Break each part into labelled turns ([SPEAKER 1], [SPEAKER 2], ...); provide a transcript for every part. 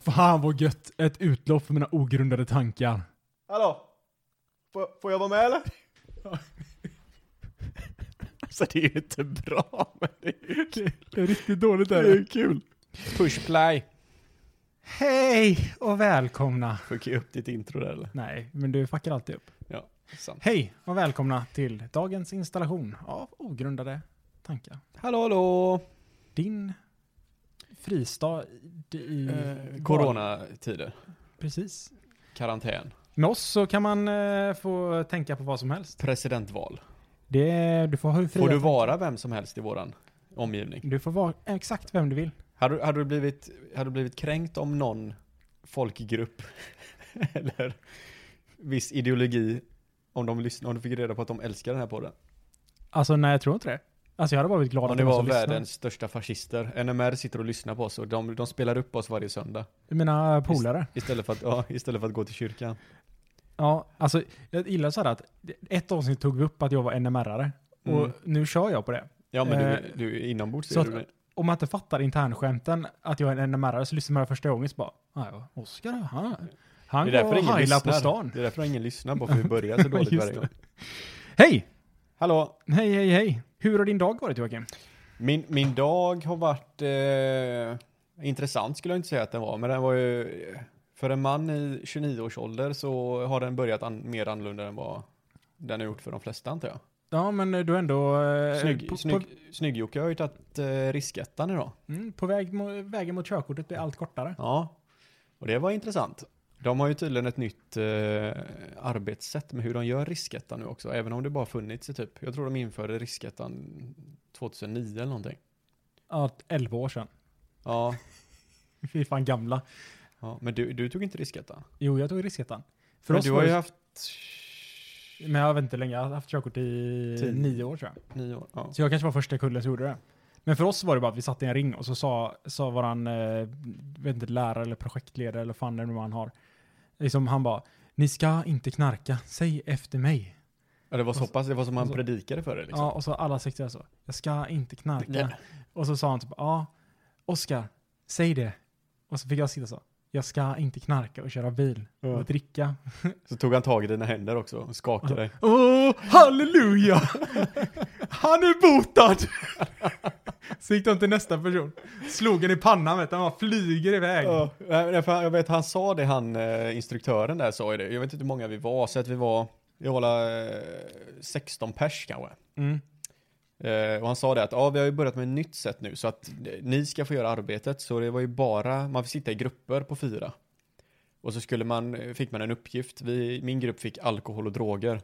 [SPEAKER 1] Fan vad gött. Ett utlopp för mina ogrundade tankar.
[SPEAKER 2] Hallå? Får, får jag vara med eller?
[SPEAKER 3] Alltså det är ju inte bra, men det är ju kul.
[SPEAKER 1] Det är riktigt dåligt
[SPEAKER 3] Det är ju kul. Push play.
[SPEAKER 1] Hej och välkomna.
[SPEAKER 3] Fick jag upp ditt intro där eller?
[SPEAKER 1] Nej, men du fuckar alltid upp.
[SPEAKER 3] Ja, sant.
[SPEAKER 1] Hej och välkomna till dagens installation av ogrundade tankar.
[SPEAKER 3] Hallå hallå!
[SPEAKER 1] Din fristad i... i
[SPEAKER 3] Eh, coronatider.
[SPEAKER 1] Precis.
[SPEAKER 3] Karantän.
[SPEAKER 1] Med oss så kan man eh, få tänka på vad som helst.
[SPEAKER 3] Presidentval.
[SPEAKER 1] Det, är- du får ha hur fria
[SPEAKER 3] Får du vara vem som helst i våran omgivning?
[SPEAKER 1] Du får vara exakt vem du vill.
[SPEAKER 3] Hade, du- hade, du, blivit, hade du blivit kränkt om någon folkgrupp eller viss ideologi om, de lyssnar, om du fick reda på att de älskar den här podden?
[SPEAKER 1] Alltså nej, jag tror inte det. Alltså jag hade bara blivit glad
[SPEAKER 3] Om
[SPEAKER 1] att
[SPEAKER 3] det
[SPEAKER 1] någon
[SPEAKER 3] var
[SPEAKER 1] som lyssnar.
[SPEAKER 3] världens största fascister. NMR sitter och lyssnar på oss och de, de spelar upp oss varje söndag.
[SPEAKER 1] Mina polare.
[SPEAKER 3] Istället för att, ja, istället för att gå till kyrkan.
[SPEAKER 1] Ja, alltså jag gillar så här att ett avsnitt tog vi upp att jag var NMR-are. Och
[SPEAKER 3] Mm.
[SPEAKER 1] nu kör jag på det.
[SPEAKER 3] Ja men du,
[SPEAKER 1] Eh,
[SPEAKER 3] du är inombords
[SPEAKER 1] så
[SPEAKER 3] ser
[SPEAKER 1] att-
[SPEAKER 3] du mig.
[SPEAKER 1] Om man inte fattar internskämten att jag är en NMR-are så lyssnar man första gången så bara, "Ah, ja, Oskar, han, han går
[SPEAKER 3] Det är därför
[SPEAKER 1] och
[SPEAKER 3] ingen
[SPEAKER 1] heilar
[SPEAKER 3] lyssnar.
[SPEAKER 1] på stan.
[SPEAKER 3] Det är därför ingen lyssnar på för vi börjar så dåligt
[SPEAKER 1] Just
[SPEAKER 3] varje
[SPEAKER 1] det.
[SPEAKER 3] gång.
[SPEAKER 1] Hej!
[SPEAKER 3] Hallå!
[SPEAKER 1] Hej, hej, hej. Hur har din dag varit Joakim?
[SPEAKER 3] Min, min dag har varit eh, intressant skulle jag inte säga att den var, men den var ju för en man i 29 års ålder så har den börjat an, mer annorlunda än vad den har gjort för de flesta antar jag.
[SPEAKER 1] Ja, men du är ändå eh,
[SPEAKER 3] Snygg,
[SPEAKER 1] på,
[SPEAKER 3] snygg, Snygg-Jocke har ju tagit eh, riskettan idag.
[SPEAKER 1] På, mm, på väg, mo- vägen mot körkortet blir allt kortare.
[SPEAKER 3] Ja, och det var intressant. De har ju tydligen ett nytt eh, arbetssätt med hur de gör riskettan nu också, även om det bara funnits i typ, jag tror de införde riskettan 2009 eller någonting.
[SPEAKER 1] Ja, 11 år sedan.
[SPEAKER 3] Ja,
[SPEAKER 1] Vi är fan gamla.
[SPEAKER 3] ja men du, du tog inte riskettan?
[SPEAKER 1] Jo, jag tog riskettan. För
[SPEAKER 3] Men
[SPEAKER 1] oss
[SPEAKER 3] du
[SPEAKER 1] var
[SPEAKER 3] har ju
[SPEAKER 1] det-
[SPEAKER 3] haft
[SPEAKER 1] Men jag har väntat länge. Jag har haft körkort i
[SPEAKER 3] Tio.
[SPEAKER 1] nio år tror jag.
[SPEAKER 3] nio år. Ja.
[SPEAKER 1] Så jag kanske var första kullen som gjorde det. Men för oss var det bara att vi satt i en ring och så sa, sa våran eh, vet inte, lärare eller projektledare eller fan det nu man har. Liksom han bara, ni ska inte knarka, säg efter mig.
[SPEAKER 3] ja, det var så pass, det var som han
[SPEAKER 1] och så-
[SPEAKER 3] predikade för det liksom.
[SPEAKER 1] Ja, och så alla sekter så, jag ska inte knarka.
[SPEAKER 3] Nej.
[SPEAKER 1] Och så sa han typ, ja, Oskar, säg det. Och så fick jag sitta så, jag ska inte knarka och köra bil
[SPEAKER 3] Ja.
[SPEAKER 1] och dricka.
[SPEAKER 3] Så tog han tag i dina händer också och skakade dig.
[SPEAKER 1] Åh, halleluja! Han är botad! Så gick de till nästa person. Slog en i pannan vet du, han bara flyger iväg.
[SPEAKER 3] Ja, nej, nej, för han- jag vet, han sa det, han eh, instruktören där sa ju det. Jag vet inte hur många vi var, så att vi var, jag var eh, 16 pers kanske.
[SPEAKER 1] Mm.
[SPEAKER 3] Eh, och han sa det att ja, vi har ju börjat med ett nytt sätt nu så att eh, ni ska få göra arbetet. Så det var ju bara, man fick sitta i grupper på fyra. Och så skulle man, eh, fick man en uppgift. Vi, min grupp fick alkohol och droger.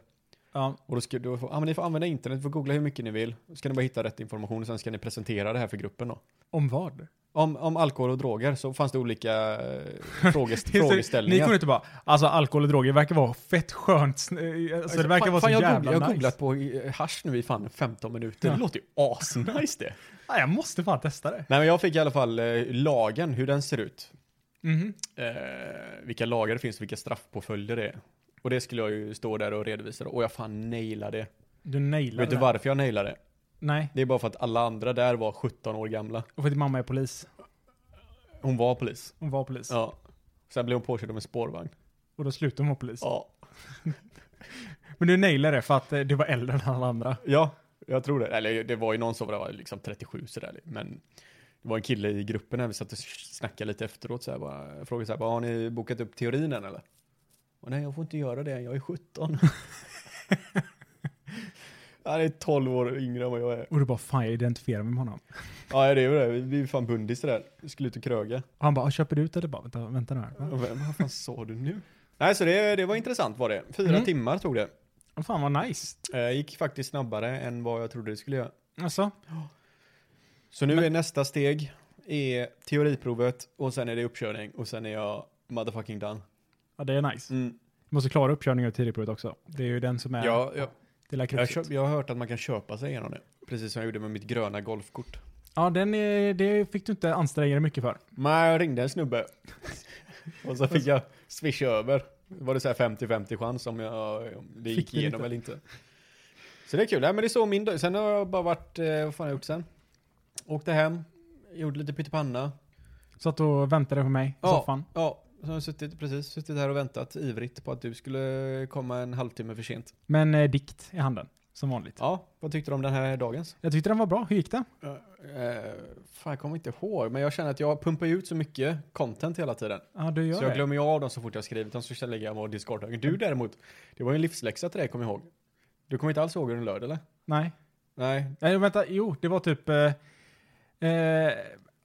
[SPEAKER 1] Ja,
[SPEAKER 3] Och då skulle du få, ja men ni får använda internet, ni får googla hur mycket ni vill. Så ska ni bara hitta rätt information och sen ska ni presentera det här för gruppen då.
[SPEAKER 1] om vad?
[SPEAKER 3] Om, om alkohol och droger så fanns det olika eh, frågest-
[SPEAKER 1] Ni
[SPEAKER 3] frågeställningar.
[SPEAKER 1] kunde inte bara, alltså alkohol och droger verkar vara fett skönt. sn- eh, Alltså, det verkar
[SPEAKER 3] Fan-
[SPEAKER 1] vara så
[SPEAKER 3] fan, jag
[SPEAKER 1] jävla
[SPEAKER 3] googlar- Jag har
[SPEAKER 1] nice.
[SPEAKER 3] googlat på eh, hasch nu i fan 15 minuter.
[SPEAKER 1] Ja.
[SPEAKER 3] Det låter ju asnice det.
[SPEAKER 1] Ja, jag måste fan testa det.
[SPEAKER 3] Nej men jag fick i alla fall eh, lagen, hur den ser ut.
[SPEAKER 1] Mhm.
[SPEAKER 3] Eh, vilka lagar det finns och vilka straffpåföljder det är. Och det skulle jag ju stå där och redovisa då. Och jag fan nailade det.
[SPEAKER 1] Du nailade
[SPEAKER 3] Vet du
[SPEAKER 1] det.
[SPEAKER 3] varför jag nailade det?
[SPEAKER 1] Nej,
[SPEAKER 3] Det är bara för att alla andra där var 17 år gamla.
[SPEAKER 1] och för att din mamma är polis.
[SPEAKER 3] Hon var polis.
[SPEAKER 1] Hon var polis.
[SPEAKER 3] Ja. Sen blev hon påkörd av en spårvagn.
[SPEAKER 1] Och då slutade hon vara polis.
[SPEAKER 3] Ja.
[SPEAKER 1] Men du nailade det för att eh, du var äldre än alla andra.
[SPEAKER 3] Ja, jag tror det. Eller det var ju någon som var liksom 37 sådär. Men det var en kille i gruppen när vi satt och snackade lite efteråt. Så här, bara, jag frågade så här, bara, har ni bokat upp teorin än eller? Och nej, jag får inte göra det, jag är 17. Han är 12 år yngre än vad jag är.
[SPEAKER 1] Och du bara, fan jag identifierar mig med honom.
[SPEAKER 3] Ja, det är ju det. Vi- Vi är fan bundis där. Vi skulle ut och kröga.
[SPEAKER 1] Och han bara, "Ah, köper du ut eller bara, vänta, vänta nu här. Va?
[SPEAKER 3] Och vem- Vad fan sa du nu? Nej, så det, det var intressant var det. Fyra
[SPEAKER 1] Mm.
[SPEAKER 3] timmar tog det.
[SPEAKER 1] Åh, Fan vad nice.
[SPEAKER 3] Eh, gick faktiskt snabbare än vad jag trodde det skulle göra.
[SPEAKER 1] Alltså,
[SPEAKER 3] Så nu är nästa steg är teoriprovet och sen är det uppkörning och sen är jag motherfucking done.
[SPEAKER 1] ja, det är nice.
[SPEAKER 3] Mm.
[SPEAKER 1] Måste klara uppkörningen och tidigprovet också. Det är ju den som är
[SPEAKER 3] Jag, jag,
[SPEAKER 1] det lilla
[SPEAKER 3] jag,
[SPEAKER 1] kruxet.
[SPEAKER 3] köp, jag har hört att man kan köpa sig igenom det. Precis som jag gjorde med mitt gröna golfkort.
[SPEAKER 1] Ja, den är, det fick du inte anstränga dig mycket för.
[SPEAKER 3] Men jag ringde en snubbe. och så fick jag swisha över. Var det så här 50-50 chans om, jag, om det
[SPEAKER 1] Fick
[SPEAKER 3] gick
[SPEAKER 1] du
[SPEAKER 3] igenom
[SPEAKER 1] lite?
[SPEAKER 3] eller inte. Så det är kul. Nej, men det är så min dag. Sen har jag bara varit, eh, vad fan har jag gjort sen? Åkte hem, gjorde lite pyttipanna.
[SPEAKER 1] Satt och väntade på mig i
[SPEAKER 3] Ja.
[SPEAKER 1] soffan.
[SPEAKER 3] Ja, så har jag suttit, precis suttit här och väntat ivrigt på att du skulle komma en halvtimme för sent.
[SPEAKER 1] Men eh, dikt i handen, som vanligt.
[SPEAKER 3] Ja, vad tyckte du om den här dagens?
[SPEAKER 1] Jag tyckte den var bra. Hur gick den?
[SPEAKER 3] Uh, fan, jag kommer inte ihåg, men jag känner att jag pumpar ju ut så mycket content hela tiden.
[SPEAKER 1] Ja, du gör
[SPEAKER 3] så jag
[SPEAKER 1] det.
[SPEAKER 3] glömmer ju av dem så fort jag skrivit dem, så lägger jag dem på discard Du däremot, det var ju en livsläxa till dig, kom ihåg. Du kommer inte alls ihåg hur den löd, eller?
[SPEAKER 1] Nej.
[SPEAKER 3] Nej,
[SPEAKER 1] Nej, vänta. Jo, det var typ... Eh, eh,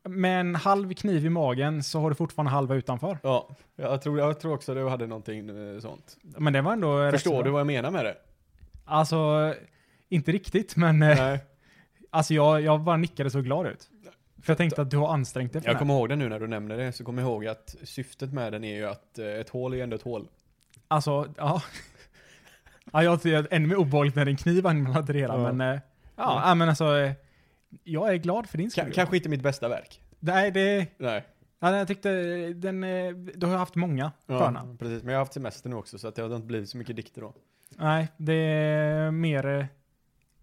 [SPEAKER 1] med en halv kniv i magen så har du fortfarande halva utanför.
[SPEAKER 3] ja. Jag tror, jag tror också du hade någonting eh, sånt.
[SPEAKER 1] Men det var ändå... rätt så
[SPEAKER 3] Förstår
[SPEAKER 1] bra.
[SPEAKER 3] du vad jag menar med det?
[SPEAKER 1] Alltså, inte riktigt, men eh,
[SPEAKER 3] Nej.
[SPEAKER 1] alltså jag, jag bara nickade så glad ut. För jag tänkte att du har ansträngt dig för
[SPEAKER 3] Jag
[SPEAKER 1] det här.
[SPEAKER 3] kommer ihåg det nu när du nämner det, så kommer jag ihåg att syftet med den är ju att eh, ett hål är ju ändå ett hål.
[SPEAKER 1] Alltså, ja. ja jag tycker att ännu mer obehagligt när det är en kniv anmäld redan,
[SPEAKER 3] Ja.
[SPEAKER 1] men eh, ja,
[SPEAKER 3] Ja.
[SPEAKER 1] ja, men alltså. eh, Jag är glad för din
[SPEAKER 3] Ka-
[SPEAKER 1] skull.
[SPEAKER 3] kanske inte mitt bästa verk.
[SPEAKER 1] Nej, det...
[SPEAKER 3] Nej.
[SPEAKER 1] Ja, jag tyckte den... eh, Du har haft många sköna.
[SPEAKER 3] Ja, precis. Men jag har haft semester nu också, så att det har inte blivit så mycket dikter då.
[SPEAKER 1] Nej, det är mer eh,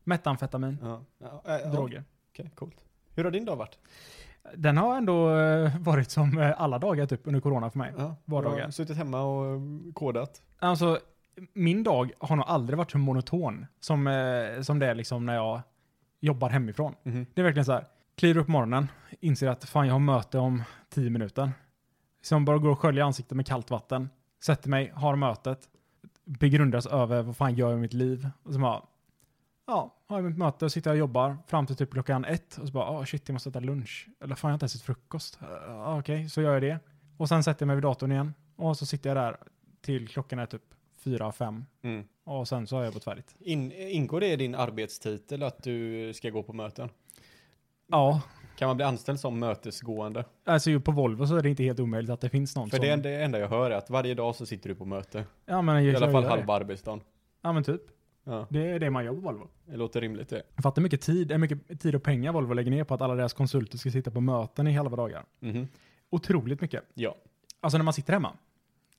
[SPEAKER 1] metamfetamin,
[SPEAKER 3] Ja. Ja, äh, ja. Okej,
[SPEAKER 1] droger.
[SPEAKER 3] coolt. Hur har din dag varit?
[SPEAKER 1] Den har ändå eh, varit som eh, alla dagar typ under corona för mig.
[SPEAKER 3] Ja,
[SPEAKER 1] Vardagar.
[SPEAKER 3] Jag har suttit hemma och eh, kodat.
[SPEAKER 1] Alltså, min dag har nog aldrig varit så monoton som, eh, som det är liksom när jag jobbar hemifrån.
[SPEAKER 3] Mhm.
[SPEAKER 1] Det är verkligen så här, kliver upp på morgonen, inser att fan jag har möte om 10 minuter. Sen bara går och sköljer ansiktet med kallt vatten, sätter mig, har mötet, begrundas över vad fan gör jag i mitt liv. Och så bara, ja, har jag mitt möte, sitter jag och jobbar fram till typ klockan ett och så bara, ah shit jag måste äta lunch. Eller fan jag har inte ens ätit frukost. Uh, Okej, så gör jag det. Och sen sätter jag mig vid datorn igen och så sitter jag där till klockan är typ fyra, fem.
[SPEAKER 3] Mm.
[SPEAKER 1] Och sen så har jag jobbat färdigt.
[SPEAKER 3] In, ingår det i din arbetstitel att du ska gå på möten?
[SPEAKER 1] Ja,
[SPEAKER 3] Kan man bli anställd som mötesgående?
[SPEAKER 1] alltså ju på Volvo så är det inte helt omöjligt att det finns någon
[SPEAKER 3] För
[SPEAKER 1] som...
[SPEAKER 3] det, är det enda jag hör är att varje dag så sitter du på möte.
[SPEAKER 1] Ja men
[SPEAKER 3] I alla fall
[SPEAKER 1] det.
[SPEAKER 3] halva arbetsdagen.
[SPEAKER 1] Ja men typ.
[SPEAKER 3] Ja,
[SPEAKER 1] Det är det man gör på Volvo.
[SPEAKER 3] det låter rimligt det.
[SPEAKER 1] Jag fattar hur mycket tid, hur mycket tid och pengar Volvo lägger ner på att alla deras konsulter ska sitta på möten i halva dagar.
[SPEAKER 3] Mhm.
[SPEAKER 1] Otroligt mycket.
[SPEAKER 3] Ja.
[SPEAKER 1] Alltså när man sitter hemma.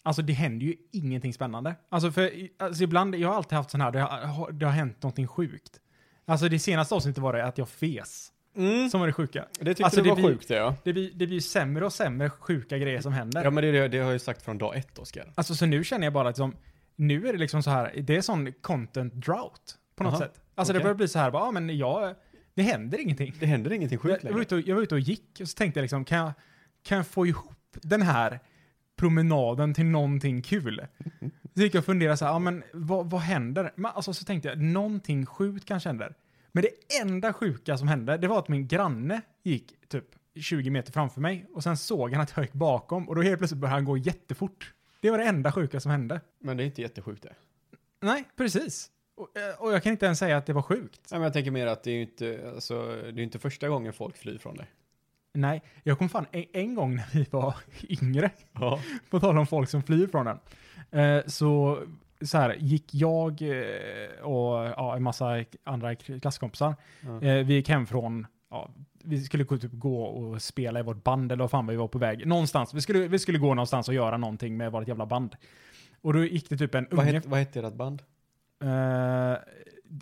[SPEAKER 1] Alltså det händer ju ingenting spännande. Alltså för i- alltså, ibland, jag har alltid haft sån här, det har, det har hänt någonting sjukt. Alltså det senaste avsnittet var det att jag fes. Som var det sjuka.
[SPEAKER 3] Det tyckte
[SPEAKER 1] Mm. Alltså,
[SPEAKER 3] du
[SPEAKER 1] det
[SPEAKER 3] var
[SPEAKER 1] blir-
[SPEAKER 3] sjukt det ja.
[SPEAKER 1] Det blir, det blir ju sämre och sämre sjuka grejer som händer.
[SPEAKER 3] Ja men det, är det, det har jag ju sagt från dag ett Oskar.
[SPEAKER 1] Alltså så nu känner jag bara att liksom, nu är det liksom så här, det är sån content drought på något
[SPEAKER 3] Aha,
[SPEAKER 1] sätt. Alltså det
[SPEAKER 3] okej.
[SPEAKER 1] börjar bli så här, bara, ja men jag, det händer ingenting.
[SPEAKER 3] Det händer ingenting
[SPEAKER 1] Jag,
[SPEAKER 3] sjukt
[SPEAKER 1] jag, var
[SPEAKER 3] längre.
[SPEAKER 1] ute och, jag var ute och gick och så tänkte jag liksom, kan jag, kan jag få ihop den här promenaden till någonting kul? Så gick jag och funderade så här, ja men vad, vad händer? Men alltså så tänkte jag, någonting sjukt kanske händer. Men det enda sjuka som hände, det var att min granne gick typ 20 meter framför mig och sen såg han att jag gick bakom och då helt plötsligt började han gå jättefort. Det var det enda sjuka som hände.
[SPEAKER 3] Men det är inte jättesjukt det.
[SPEAKER 1] Nej, precis. Och, eh, och jag kan inte ens säga att det var sjukt.
[SPEAKER 3] Nej men jag tänker mer att det är ju inte, alltså, det är ju inte första gången folk flyr från dig.
[SPEAKER 1] Nej, jag kom fan en, en gång när vi var yngre,
[SPEAKER 3] Ja.
[SPEAKER 1] på tal om folk som flyr från den, eh, så, så här, gick jag eh, och ja, en massa andra k- klasskompisar,
[SPEAKER 3] Ja.
[SPEAKER 1] eh, vi gick hem från, ja, vi skulle gå- typ gå och spela i vårt band eller vad fan vi var på väg. Någonstans, vi skulle, vi skulle gå någonstans och göra någonting med vårt jävla band. Och då gick det typ en
[SPEAKER 3] Vad,
[SPEAKER 1] unge...
[SPEAKER 3] het, vad hette ert band?
[SPEAKER 1] eh,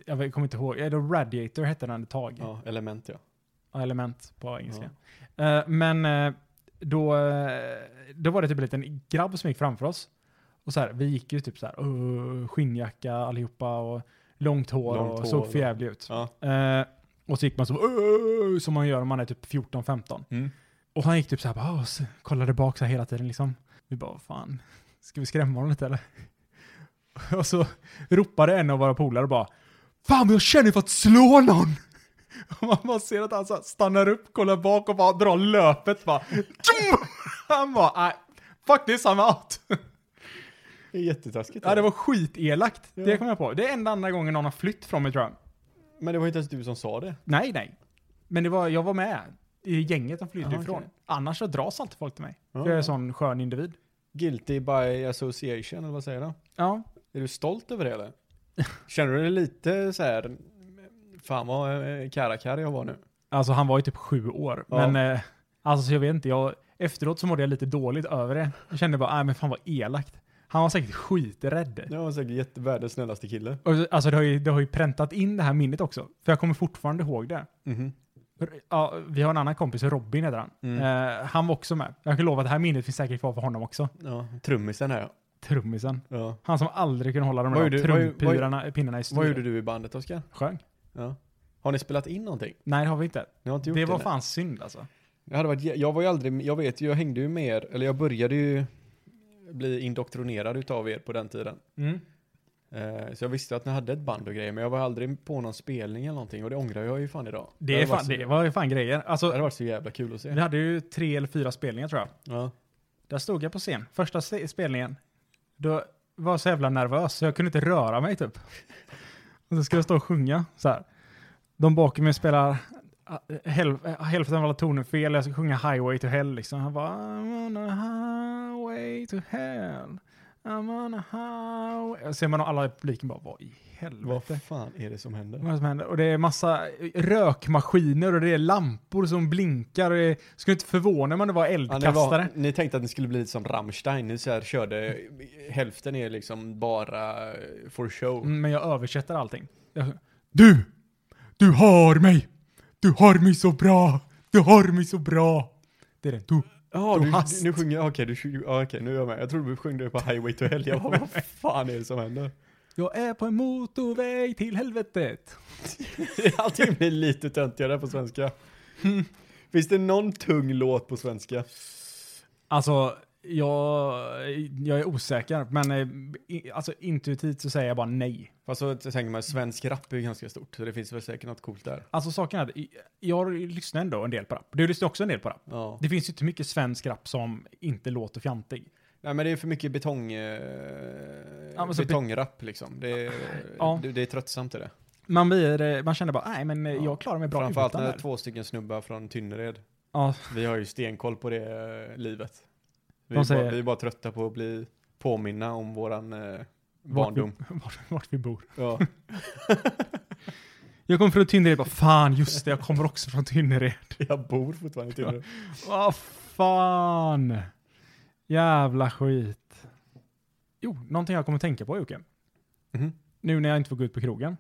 [SPEAKER 1] jag vet- kommer inte ihåg, Eh, då Radiator hette den ett tag.
[SPEAKER 3] Ja, Element ja.
[SPEAKER 1] Ja, element på engelska. Eh, men eh, då, eh, då var det typ en liten grabb som gick framför oss. Och så här, vi gick ju typ så här, "Åh, skinnjacka allihopa och långt hår
[SPEAKER 3] Långt
[SPEAKER 1] och
[SPEAKER 3] hår
[SPEAKER 1] såg
[SPEAKER 3] och-
[SPEAKER 1] förjävlig ut.
[SPEAKER 3] ja.
[SPEAKER 1] Eh, och så gick man så, "Åh", som man gör om man är typ 14-15.
[SPEAKER 3] Mm.
[SPEAKER 1] Och han gick typ så här, bara, "Åh", och så kollade bak så här hela tiden liksom. Vi bara, fan, ska vi skrämma honom lite eller? Och så ropade en av våra polare bara, fan men jag känner för att slå någon! Och man bara ser att han så här stannar upp, kollar bak och bara drar löpet bara. Tjum! Han bara, nej, fuck this, I'm out.
[SPEAKER 3] Det är jättetaskigt.
[SPEAKER 1] Ja, det var skitelakt.
[SPEAKER 3] Ja.
[SPEAKER 1] Det kom jag på. Det är enda andra gången någon har flytt från mig tror jag.
[SPEAKER 3] Men det var inte ens du som sa det.
[SPEAKER 1] Nej, nej. Men det var, jag var med i gänget som flydde
[SPEAKER 3] Jaha,
[SPEAKER 1] ifrån.
[SPEAKER 3] okej.
[SPEAKER 1] Annars så dras alltid folk till mig.
[SPEAKER 3] Ja.
[SPEAKER 1] För jag är en sån skön individ.
[SPEAKER 3] Guilty by association, eller vad säger du?
[SPEAKER 1] Ja.
[SPEAKER 3] Är du stolt över det eller? Känner du dig lite så här, fan vad eh, karakär jag var nu?
[SPEAKER 1] Alltså han var ju typ sju år.
[SPEAKER 3] Ja.
[SPEAKER 1] Men eh, alltså så jag vet inte, jag, efteråt så mådde jag lite dåligt över det. Jag kände bara, nej men fan vad elakt. Han var säkert skiträdd.
[SPEAKER 3] Jag var säkert jätte- världens snällaste kille. Mhm.
[SPEAKER 1] Och, Alltså det har, ju, det har ju präntat in det här minnet också. För jag kommer fortfarande ihåg det. Ja, vi har en annan kompis, Robin heter han.
[SPEAKER 3] Mm.
[SPEAKER 1] Eh, han var också med. Jag kan lova att det här minnet finns säkert kvar för honom också.
[SPEAKER 3] Ja, trummisen här ja.
[SPEAKER 1] Trummisen.
[SPEAKER 3] ja.
[SPEAKER 1] Han som aldrig kunde hålla de
[SPEAKER 3] Vad
[SPEAKER 1] där
[SPEAKER 3] gjorde- vad gjorde-
[SPEAKER 1] trumpyrarna, pinnarna i styr.
[SPEAKER 3] Vad gjorde du i bandet Oskar?
[SPEAKER 1] Sjöng.
[SPEAKER 3] Ja. Har ni spelat in någonting?
[SPEAKER 1] Nej, det har vi inte.
[SPEAKER 3] Ni har inte gjort det?
[SPEAKER 1] Det var
[SPEAKER 3] nej.
[SPEAKER 1] fan synd alltså.
[SPEAKER 3] Jag, hade varit, jag var ju aldrig, jag vet ju, jag hängde ju med er, eller jag började ju bli indoktrinerad utav er på den tiden.
[SPEAKER 1] Mm.
[SPEAKER 3] Eh, så jag visste att ni hade ett band och grejer, men jag var aldrig på någon spelning eller någonting och det ångrar jag ju fan idag.
[SPEAKER 1] Det, är
[SPEAKER 3] hade varit
[SPEAKER 1] fan,
[SPEAKER 3] så,
[SPEAKER 1] det var ju fan grejer.
[SPEAKER 3] det
[SPEAKER 1] Alltså,
[SPEAKER 3] hade varit så jävla kul att se.
[SPEAKER 1] vi hade ju tre eller fyra spelningar tror jag.
[SPEAKER 3] Ja.
[SPEAKER 1] Där stod jag på scen. Första se- spelningen. Då var jag så jävla nervös så jag kunde inte röra mig typ. Och så ska jag stå och sjunga så här. De bakom mig spelar ah, hälf- eh, hälften av alla toner fel. Jag ska sjunga Highway to Hell liksom. Han bara I'm on a highway to hell. I'm on a highway. Och ser man alla i publiken bara vad i
[SPEAKER 3] Vad
[SPEAKER 1] helvete.
[SPEAKER 3] fan är det som händer?
[SPEAKER 1] Vad är det som händer? Och det är massa eh, rökmaskiner och det är lampor som blinkar. Och det är, skulle inte förvåna mig om det var
[SPEAKER 3] Ja, ni,
[SPEAKER 1] eldkastare.
[SPEAKER 3] var, ni tänkte att ni skulle bli lite som Rammstein, ni så här körde, hälften är liksom bara eh, for show.
[SPEAKER 1] Mm, Men jag översätter allting. Jag, du! Du har mig! Du har mig så bra! Du har mig så bra! Det är den. Du.
[SPEAKER 3] Ja,
[SPEAKER 1] Du
[SPEAKER 3] du,
[SPEAKER 1] hast.
[SPEAKER 3] du, nu sjunger jag, okej, du sjunger- ja, okej, nu är jag med. Jag trodde du sjöng det på Highway to Hell, jag bara, vad fan är det som händer?
[SPEAKER 1] Jag är på en motorväg till helvetet.
[SPEAKER 3] Allting blir lite töntigare på svenska. Finns det någon tung låt på svenska?
[SPEAKER 1] Alltså, jag, jag är osäker, men eh, i- alltså, intuitivt så säger jag bara nej.
[SPEAKER 3] Fast så tänker man, svensk rap är ju ganska stort, så det finns väl säkert något coolt där.
[SPEAKER 1] Alltså saken är att i- jag lyssnar ändå en del på rap. Du lyssnar också en del på rap.
[SPEAKER 3] Ja.
[SPEAKER 1] Det finns ju inte mycket svensk rap som inte låter fjantig.
[SPEAKER 3] Nej men det är för mycket betong... Eh,
[SPEAKER 1] Ja, men så-
[SPEAKER 3] betongrapp liksom. Det är,
[SPEAKER 1] Ja.
[SPEAKER 3] det, det är tröttsamt är det.
[SPEAKER 1] Man, blir, eh, man känner bara, nej men eh,
[SPEAKER 3] Ja.
[SPEAKER 1] jag klarar mig bra
[SPEAKER 3] Framförallt
[SPEAKER 1] utan
[SPEAKER 3] när
[SPEAKER 1] det. här."
[SPEAKER 3] två stycken snubbar från Tynnered.
[SPEAKER 1] Ja,
[SPEAKER 3] Vi har ju stenkoll på det eh, livet. Vi,
[SPEAKER 1] De
[SPEAKER 3] är
[SPEAKER 1] säger-
[SPEAKER 3] bara, vi är bara trötta på att bli påminna om våran eh,
[SPEAKER 1] vart, vi,
[SPEAKER 3] barndom.
[SPEAKER 1] vart, vart vi bor.
[SPEAKER 3] Ja.
[SPEAKER 1] Jag kom från Tynnered bara fan just det, jag kommer också från Tynnered.
[SPEAKER 3] Jag bor fortfarande i Tynnered.
[SPEAKER 1] Vad fan! Jävla skit. Jo, någonting jag kommer tänka på Jocke.
[SPEAKER 3] Mhm.
[SPEAKER 1] Nu när jag inte får gå ut på krogen.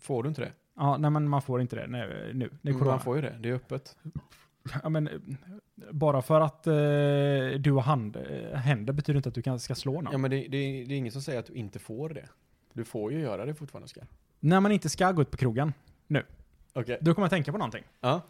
[SPEAKER 3] Får du inte det?
[SPEAKER 1] Ja, nej men man får inte det nu. nu det är
[SPEAKER 3] Men
[SPEAKER 1] corona.
[SPEAKER 3] Mm, Man får ju det, det är öppet.
[SPEAKER 1] Ja, men, eh, bara för att eh, du har hand, eh, händer betyder inte att du kan, ska slå någon.
[SPEAKER 3] Ja men det, det, är- det är ingen som säger att du inte får det. Du får ju göra det fortfarande Oskar.
[SPEAKER 1] När man inte ska gå ut på krogen,
[SPEAKER 3] Okej.
[SPEAKER 1] då kommer jag tänka på någonting.
[SPEAKER 3] Ja.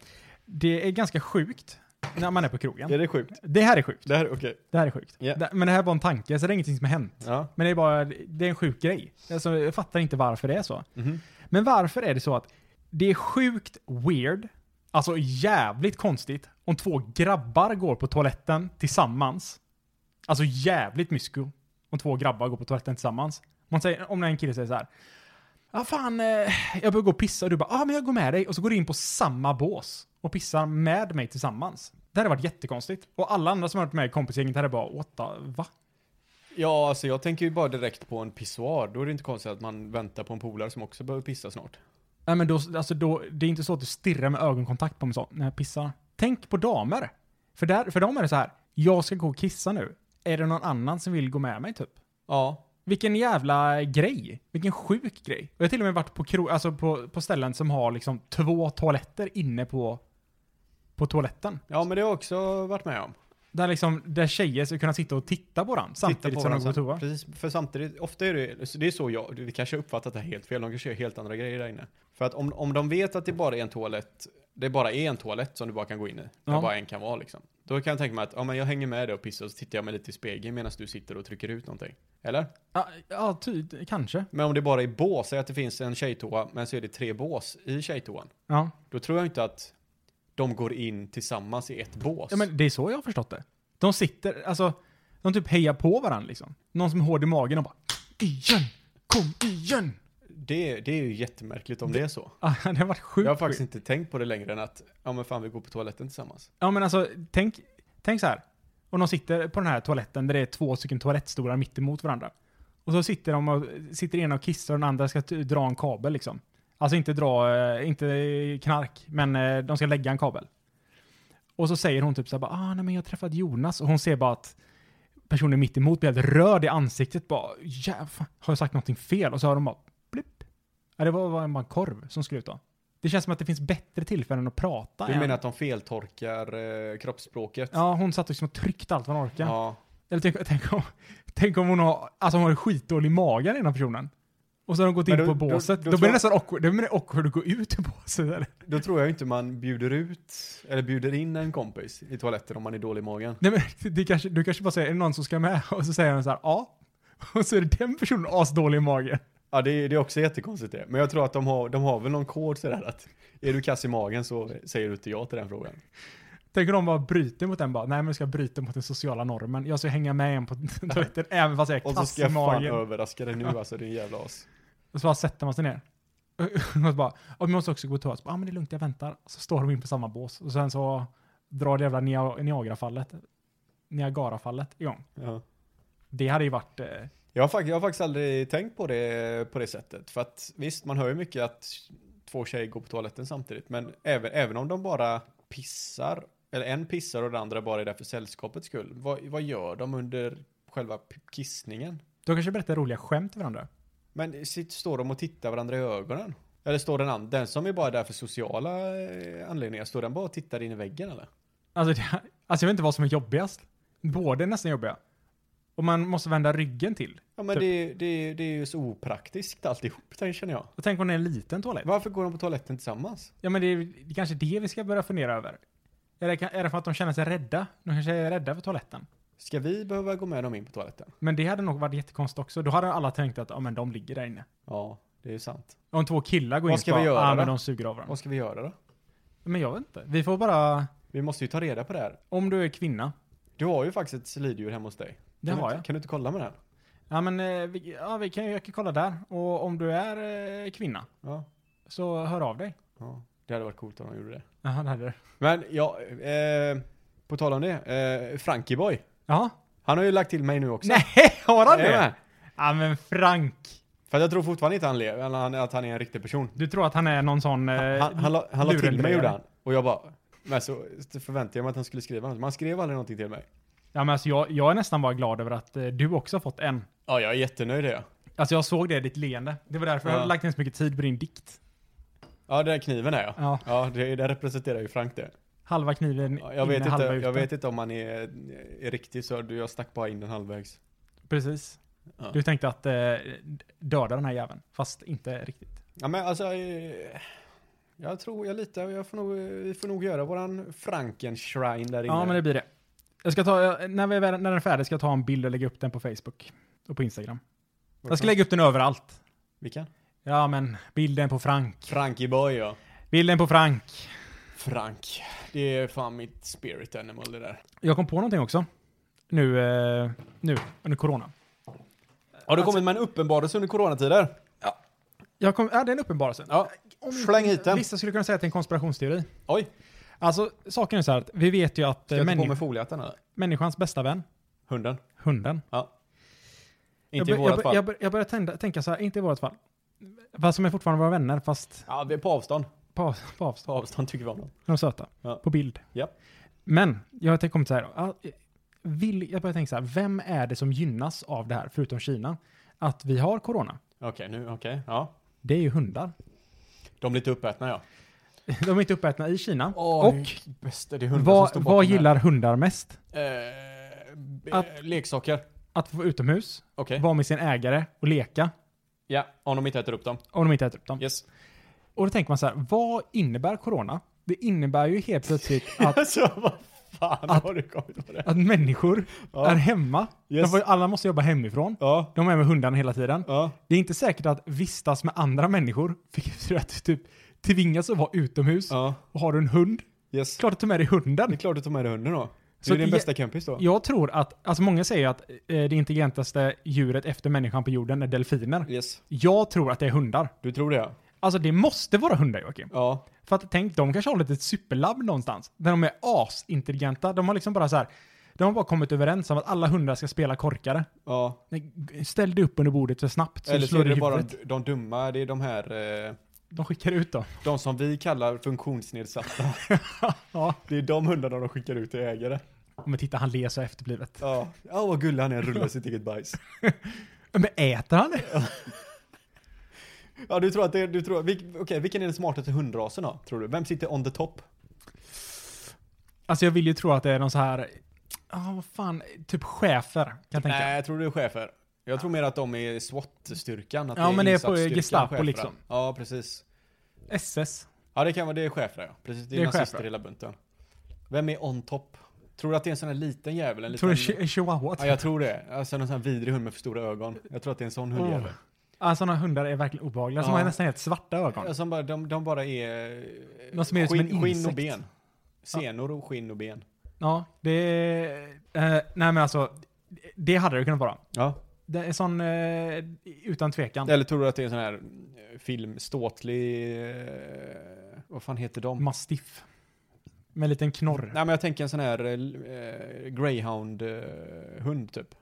[SPEAKER 1] Det är ganska sjukt när man är på krogen.
[SPEAKER 3] Är det sjukt?
[SPEAKER 1] Det här är sjukt.
[SPEAKER 3] Det här, okej.
[SPEAKER 1] Det här är sjukt.
[SPEAKER 3] Ja.
[SPEAKER 1] Det, men det här var en tanke, så det är ingenting som har hänt.
[SPEAKER 3] Ja.
[SPEAKER 1] Men det är bara, det är en sjuk grej. Alltså, jag fattar inte varför det är så.
[SPEAKER 3] Mhm.
[SPEAKER 1] Men varför är det så att det är sjukt weird, alltså jävligt konstigt, om två grabbar går på toaletten tillsammans. Alltså jävligt mysko. Om två grabbar går på toaletten tillsammans. Om Man säger, om en kille säger så här. Ja ah, fan, eh, jag behöver gå och pissa. Och du bara, ja ah, men jag går med dig. Och så går du in på samma bås och pissar med mig tillsammans. Det hade varit jättekonstigt. Och alla andra som har varit med i kompisgänget hade bara, what the, va?
[SPEAKER 3] Ja, alltså jag tänker ju bara direkt på en pissoar. Då är det inte konstigt att man väntar på en polare som också behöver pissa snart.
[SPEAKER 1] Nej men då, alltså då, det är inte så att du stirrar med ögonkontakt på mig så, när jag pissar. Tänk på damer. För, där, för dem är det så här, jag ska gå och kissa nu. Är det någon annan som vill gå med mig typ?
[SPEAKER 3] Ja.
[SPEAKER 1] Vilken jävla grej. Vilken sjuk grej. Och jag har till och med varit på, kro, alltså på, på ställen som har liksom två toaletter inne på, på toaletten.
[SPEAKER 3] Ja, men det har jag också varit med om.
[SPEAKER 1] Där, liksom, där tjejer ska kunna sitta och titta på den samtidigt
[SPEAKER 3] Titta på
[SPEAKER 1] som de går
[SPEAKER 3] varandra
[SPEAKER 1] på toa.
[SPEAKER 3] Precis, för samtidigt, ofta är det, så det är så jag, vi kanske har uppfattat det här helt fel, de kanske gör helt andra grejer där inne. För att om, om de vet att det bara är en toalett, det bara är en toalett som du bara kan gå in i, där
[SPEAKER 1] Ja.
[SPEAKER 3] bara en kan vara liksom. Då kan jag tänka mig att, ja men jag hänger med dig och pissar och så tittar jag mig lite i spegeln medan du sitter och trycker ut någonting. Eller?
[SPEAKER 1] Ja, ja ty, kanske.
[SPEAKER 3] Men om det bara är bås, säg att det finns en tjejtoa, men så är det tre bås i tjejtoan.
[SPEAKER 1] Ja.
[SPEAKER 3] Då tror jag inte att de går in tillsammans i ett bås.
[SPEAKER 1] Ja, men det är så jag har förstått det. De sitter, alltså, de typ hejar på varandra liksom. Någon som är hård i magen och bara Igen! Kom igen!
[SPEAKER 3] det, det är ju jättemärkligt om det är så.
[SPEAKER 1] Ah, det har varit sjukt.
[SPEAKER 3] Jag har faktiskt inte tänkt på det längre än att, ja men fan vi går på toaletten tillsammans.
[SPEAKER 1] Ja men alltså, tänk, tänk så här. Om de sitter på den här toaletten där det är två stycken toalettstolar mitt emot varandra. Och så sitter de och, sitter ena och kissar och den andra ska t- dra en kabel liksom. Alltså inte dra, eh, inte knark, men eh, de ska lägga en kabel. Och så säger hon typ så här bara, ah nej men jag har träffat Jonas och hon ser bara att personen mitt emot blir helt röd i ansiktet bara, jävlar, har jag sagt någonting fel? Och så har de bara, blipp. Ja, det var, var en bara en korv som skulle ut då. Det känns som att det finns bättre tillfällen att prata
[SPEAKER 3] Du
[SPEAKER 1] än-
[SPEAKER 3] menar att de feltorkar eh, kroppsspråket?
[SPEAKER 1] Ah, Ja, hon satt liksom och tryckte allt vad hon orkade.
[SPEAKER 3] Ja.
[SPEAKER 1] Eller tänk, tänk, om, tänk om hon har, alltså hon har skitdålig mage den här personen. Och så har de gått
[SPEAKER 3] Men
[SPEAKER 1] in
[SPEAKER 3] då-
[SPEAKER 1] på
[SPEAKER 3] då-
[SPEAKER 1] båset. Då, blir
[SPEAKER 3] då tror
[SPEAKER 1] det
[SPEAKER 3] jag-
[SPEAKER 1] nästan awkward, då blir det awkward att gå ut ur båset. Eller?
[SPEAKER 3] Då tror jag inte man bjuder ut, eller bjuder in en kompis i toaletten om man är dålig i magen.
[SPEAKER 1] Nej men det- det kanske, du kanske bara säger, är det någon som ska med? Och så säger han så här, ja. Och så är det den personen asdålig i magen.
[SPEAKER 3] Ja, det, det är också jättekonstigt det. Men jag tror att de har, de har väl någon kod sådär att är du kass i magen så säger du inte ja till den frågan.
[SPEAKER 1] Tänk om de bara bryter mot den bara, nej men jag ska bryta mot den sociala normen. Jag ska hänga med en på toaletten även fast jag är
[SPEAKER 3] Och så
[SPEAKER 1] kass
[SPEAKER 3] ska
[SPEAKER 1] i
[SPEAKER 3] jag fan
[SPEAKER 1] magen.
[SPEAKER 3] överraska dig nu alltså, din jävla as.
[SPEAKER 1] Och så bara sätter man sig ner. Och så bara, och vi måste också gå till toa. Så bara, Ja ah, men det är lugnt, jag väntar. Så står de in på samma bås. Och sen så drar det jävla Nia- Niagarafallet, Niagarafallet igång.
[SPEAKER 3] Ja.
[SPEAKER 1] Det hade ju varit... Eh,
[SPEAKER 3] Jag har, fakt- jag har faktiskt aldrig tänkt på det på det sättet. För att visst, man hör ju mycket att två tjejer går på toaletten samtidigt. Men även, även om de bara pissar, eller en pissar och den andra bara är där för sällskapets skull. Vad, vad gör de under själva p- kissningen?
[SPEAKER 1] de kanske berättar roliga skämt till varandra.
[SPEAKER 3] Men sitt, står de och tittar varandra i ögonen? Eller står den, an- den som är bara där för sociala eh, anledningar, står den bara och tittar in i väggen eller?
[SPEAKER 1] Alltså, det, alltså jag vet inte vad som är jobbigast. Båda är nästan jobbiga. Och man måste vända ryggen till.
[SPEAKER 3] Ja men
[SPEAKER 1] Typ.
[SPEAKER 3] det, det, det är ju så opraktiskt alltihop, det känner jag.
[SPEAKER 1] Och tänk om det är en liten toalett.
[SPEAKER 3] Varför går de på toaletten tillsammans?
[SPEAKER 1] Ja men det är, det är kanske det vi ska börja fundera över. Är det, är det för att de känner sig rädda? De kanske är rädda för toaletten.
[SPEAKER 3] Ska vi behöva gå med dem in på toaletten?
[SPEAKER 1] Men det hade nog varit jättekonstigt också. Då hade alla tänkt att ja, men de ligger där inne.
[SPEAKER 3] Ja, det är ju sant.
[SPEAKER 1] Om två killar går in
[SPEAKER 3] Vad ska
[SPEAKER 1] och bara,
[SPEAKER 3] vi göra
[SPEAKER 1] ah,
[SPEAKER 3] då?
[SPEAKER 1] men de suger av varandra.
[SPEAKER 3] Vad ska vi göra då?
[SPEAKER 1] Men jag vet inte. Vi får bara,
[SPEAKER 3] Vi måste ju ta reda på det här.
[SPEAKER 1] om du är kvinna. Du,
[SPEAKER 3] Du har ju faktiskt ett sliddjur hemma hos dig.
[SPEAKER 1] det
[SPEAKER 3] kan du,
[SPEAKER 1] har
[SPEAKER 3] inte-
[SPEAKER 1] jag.
[SPEAKER 3] Kan du inte kolla med den?
[SPEAKER 1] Ja men eh, vi, ja, vi kan ju jag kan kolla där. Och om du är eh, kvinna
[SPEAKER 3] Ja.
[SPEAKER 1] så hör av dig.
[SPEAKER 3] ja. Det hade varit coolt om de gjorde det.
[SPEAKER 1] Jaha, det hade du.
[SPEAKER 3] Men ja, eh, på tal om det. Eh, Frankieboy.
[SPEAKER 1] Ja.
[SPEAKER 3] Han har ju lagt till mig nu också.
[SPEAKER 1] Nej, har han
[SPEAKER 3] Jajamän.
[SPEAKER 1] det? Ja men Frank.
[SPEAKER 3] För att jag tror fortfarande inte han lever, eller han- att han är en riktig person.
[SPEAKER 1] Du tror att han är någon sån... eh,
[SPEAKER 3] Han, han, han, la- han la till mig
[SPEAKER 1] lurendrejare.
[SPEAKER 3] gjorde han. Och jag bara, men så förväntade jag mig att han skulle skriva något. Men han skrev aldrig någonting till mig.
[SPEAKER 1] Ja men alltså jag, jag är nästan bara glad över att eh, du också har fått en.
[SPEAKER 3] Ja, jag är jättenöjd det. ja.
[SPEAKER 1] Alltså jag såg det i ditt leende. Det var därför jag
[SPEAKER 3] Ja.
[SPEAKER 1] hade lagt ner så mycket tid på din dikt.
[SPEAKER 3] Ja, den där kniven är jag.
[SPEAKER 1] Ja.
[SPEAKER 3] Ja, det, det representerar ju Frank det.
[SPEAKER 1] Halva kniven
[SPEAKER 3] Ja, Jag
[SPEAKER 1] inne,
[SPEAKER 3] vet, inte,
[SPEAKER 1] halva ute.
[SPEAKER 3] jag vet inte om han är, är riktig så du, jag stack bara in den halvvägs.
[SPEAKER 1] Precis.
[SPEAKER 3] Ja.
[SPEAKER 1] Du tänkte att eh, döda den här jäveln, fast inte riktigt.
[SPEAKER 3] Ja men alltså, eh, jag tror, jag litar, jag får nog, vi får nog göra våran Frankenstein där inne.
[SPEAKER 1] Ja, men det blir det. Jag ska ta, jag- när, vi, är väl- när den är färdig ska jag ta en bild och lägga upp den på Facebook och på Instagram. Jag ska lägga upp den överallt.
[SPEAKER 3] Vilken?
[SPEAKER 1] Ja, men bilden på Frank.
[SPEAKER 3] Frankieboy ja.
[SPEAKER 1] Bilden på Frank.
[SPEAKER 3] Frank. Det är fan mitt spirit animal det där.
[SPEAKER 1] Jag kom på någonting också. Nu, eh, nu, under corona.
[SPEAKER 3] Har du
[SPEAKER 1] Alltså-
[SPEAKER 3] kommit med en uppenbarelse under coronatider?
[SPEAKER 1] Jag kom, ja, det är en uppenbarelse.
[SPEAKER 3] Ja.
[SPEAKER 1] Om
[SPEAKER 3] Släng hit den.
[SPEAKER 1] Vissa skulle kunna säga att det är en konspirationsteori.
[SPEAKER 3] Oj,
[SPEAKER 1] Alltså, saken är så här att vi vet ju att
[SPEAKER 3] ska
[SPEAKER 1] eh,
[SPEAKER 3] jag ta på
[SPEAKER 1] männi-
[SPEAKER 3] mig foliehatten eller?
[SPEAKER 1] människans bästa vän,
[SPEAKER 3] Hunden?
[SPEAKER 1] hunden,
[SPEAKER 3] Ja.
[SPEAKER 1] Jag
[SPEAKER 3] Inte i
[SPEAKER 1] bör-
[SPEAKER 3] vårat
[SPEAKER 1] jag, bör-
[SPEAKER 3] fall.
[SPEAKER 1] Jag, bör- jag börjar tända, tänka så här, inte i vårt fall. Fast som är fortfarande våra vänner, fast
[SPEAKER 3] Ja, vi är på avstånd.
[SPEAKER 1] på, på avstånd.
[SPEAKER 3] På avstånd tycker vi om dem.
[SPEAKER 1] De är söta.
[SPEAKER 3] Ja.
[SPEAKER 1] På bild.
[SPEAKER 3] Ja.
[SPEAKER 1] Men, jag har tänkt- kommit så här. ja, Vill, jag börjar tänka så här, vem är det som gynnas av det här, förutom Kina? Att vi har corona.
[SPEAKER 3] Okej, nu, okej. Ja.
[SPEAKER 1] Det är ju hundar.
[SPEAKER 3] De lite uppätna ja.
[SPEAKER 1] De är inte uppätna i Kina. och
[SPEAKER 3] och bästa, det är hundar som
[SPEAKER 1] vad,
[SPEAKER 3] står
[SPEAKER 1] vad
[SPEAKER 3] bakom här.
[SPEAKER 1] gillar hundar mest?
[SPEAKER 3] Eh, b-
[SPEAKER 1] Att-
[SPEAKER 3] leksaker.
[SPEAKER 1] Att få vara utomhus,
[SPEAKER 3] Okej.
[SPEAKER 1] vara med sin ägare och leka.
[SPEAKER 3] Ja, om de inte äter upp dem.
[SPEAKER 1] Om de inte äter upp dem.
[SPEAKER 3] Yes.
[SPEAKER 1] Och då tänker man så här, vad innebär corona? Det innebär ju helt plötsligt att,
[SPEAKER 3] Alltså vad fan
[SPEAKER 1] Att-
[SPEAKER 3] har du kommit på det?
[SPEAKER 1] att människor
[SPEAKER 3] Ja.
[SPEAKER 1] är hemma.
[SPEAKER 3] Yes.
[SPEAKER 1] De får, alla måste jobba hemifrån.
[SPEAKER 3] Ja.
[SPEAKER 1] De är med hundarna hela tiden.
[SPEAKER 3] Ja.
[SPEAKER 1] Det är inte säkert att vistas med andra människor, vilket betyder att du typ tvingas att vara utomhus.
[SPEAKER 3] Ja.
[SPEAKER 1] Och har du en hund,
[SPEAKER 3] Yes.
[SPEAKER 1] klart att du tar med dig
[SPEAKER 3] Det är
[SPEAKER 1] hunden.
[SPEAKER 3] klart du tar med dig hunden då.
[SPEAKER 1] Så
[SPEAKER 3] Du är
[SPEAKER 1] att jag-
[SPEAKER 3] din bästa kompis då.
[SPEAKER 1] Jag tror att, alltså många säger att eh, det intelligentaste djuret efter människan på jorden är delfiner.
[SPEAKER 3] Yes.
[SPEAKER 1] Jag tror att det är hundar.
[SPEAKER 3] Du tror det ja.
[SPEAKER 1] Alltså det måste vara hundar Joakim.
[SPEAKER 3] Ja.
[SPEAKER 1] För att tänk, de kanske har ett litet superlabb någonstans. Där de är asintelligenta. De har liksom bara så här. De har bara kommit överens om att alla hundar ska spela korkare.
[SPEAKER 3] ja.
[SPEAKER 1] Nej, g- Ställ dig upp under bordet så snabbt så
[SPEAKER 3] Eller
[SPEAKER 1] Eller
[SPEAKER 3] så
[SPEAKER 1] slår
[SPEAKER 3] är
[SPEAKER 1] du
[SPEAKER 3] det
[SPEAKER 1] huvudet.
[SPEAKER 3] bara de, de dumma, det är de här, eh,
[SPEAKER 1] De skickar ut dem.
[SPEAKER 3] de som vi kallar funktionsnedsatta.
[SPEAKER 1] Ja.
[SPEAKER 3] Det är de hundarna de skickar ut till ägare.
[SPEAKER 1] Men titta, han ler så efterblivet.
[SPEAKER 3] Ja, ja vad gullig han är, rullar sitt eget bajs.
[SPEAKER 1] Men äter han?
[SPEAKER 3] Ja, du tror att det, du tror, vil, okej, vilken är den smartaste hundrasen då, tror du? Vem sitter on the top?
[SPEAKER 1] Alltså jag vill ju tro att det är någon så här, ja vad fan, typ chefer kan jag tänka.
[SPEAKER 3] Nej, jag tror det är chefer. Jag tror mer att de är SWAT-styrkan. Att
[SPEAKER 1] Ja, men det är på
[SPEAKER 3] insatsstyrkan,
[SPEAKER 1] Gestapo
[SPEAKER 3] cheferna.
[SPEAKER 1] liksom.
[SPEAKER 3] Ja, precis.
[SPEAKER 1] SS.
[SPEAKER 3] Ja, det kan vara, det är chefer ja. Precis, det är,
[SPEAKER 1] Det är
[SPEAKER 3] nazister
[SPEAKER 1] chefer.
[SPEAKER 3] hela bunten. Vem är on top? Tror du att det är en sån här liten jävel? En
[SPEAKER 1] Tror du
[SPEAKER 3] liten...
[SPEAKER 1] chi- en chihuahua?
[SPEAKER 3] Ja, jag tror det. Alltså en sån här vidrig hund med för stora ögon. Jag tror att det är en sån
[SPEAKER 1] Oh.
[SPEAKER 3] hundjävel.
[SPEAKER 1] Ja, sådana hundar är verkligen obehagliga. Som
[SPEAKER 3] Ja.
[SPEAKER 1] har nästan helt svarta ögon.
[SPEAKER 3] Ja, som bara, de, de bara är...
[SPEAKER 1] De som är som en
[SPEAKER 3] skinn och
[SPEAKER 1] insekt.
[SPEAKER 3] ben. Senor och skinn och ben.
[SPEAKER 1] Ja, det... Eh, nej men alltså, det hade det kunnat vara.
[SPEAKER 3] Ja.
[SPEAKER 1] Det är sån, eh, utan tvekan.
[SPEAKER 3] Eller tror du att det är en sån här eh, film, ståtlig... Eh, vad fan heter de?
[SPEAKER 1] Mastiff. Med en liten knorr.
[SPEAKER 3] Nej men jag tänker en sån här eh, greyhound-hund typ.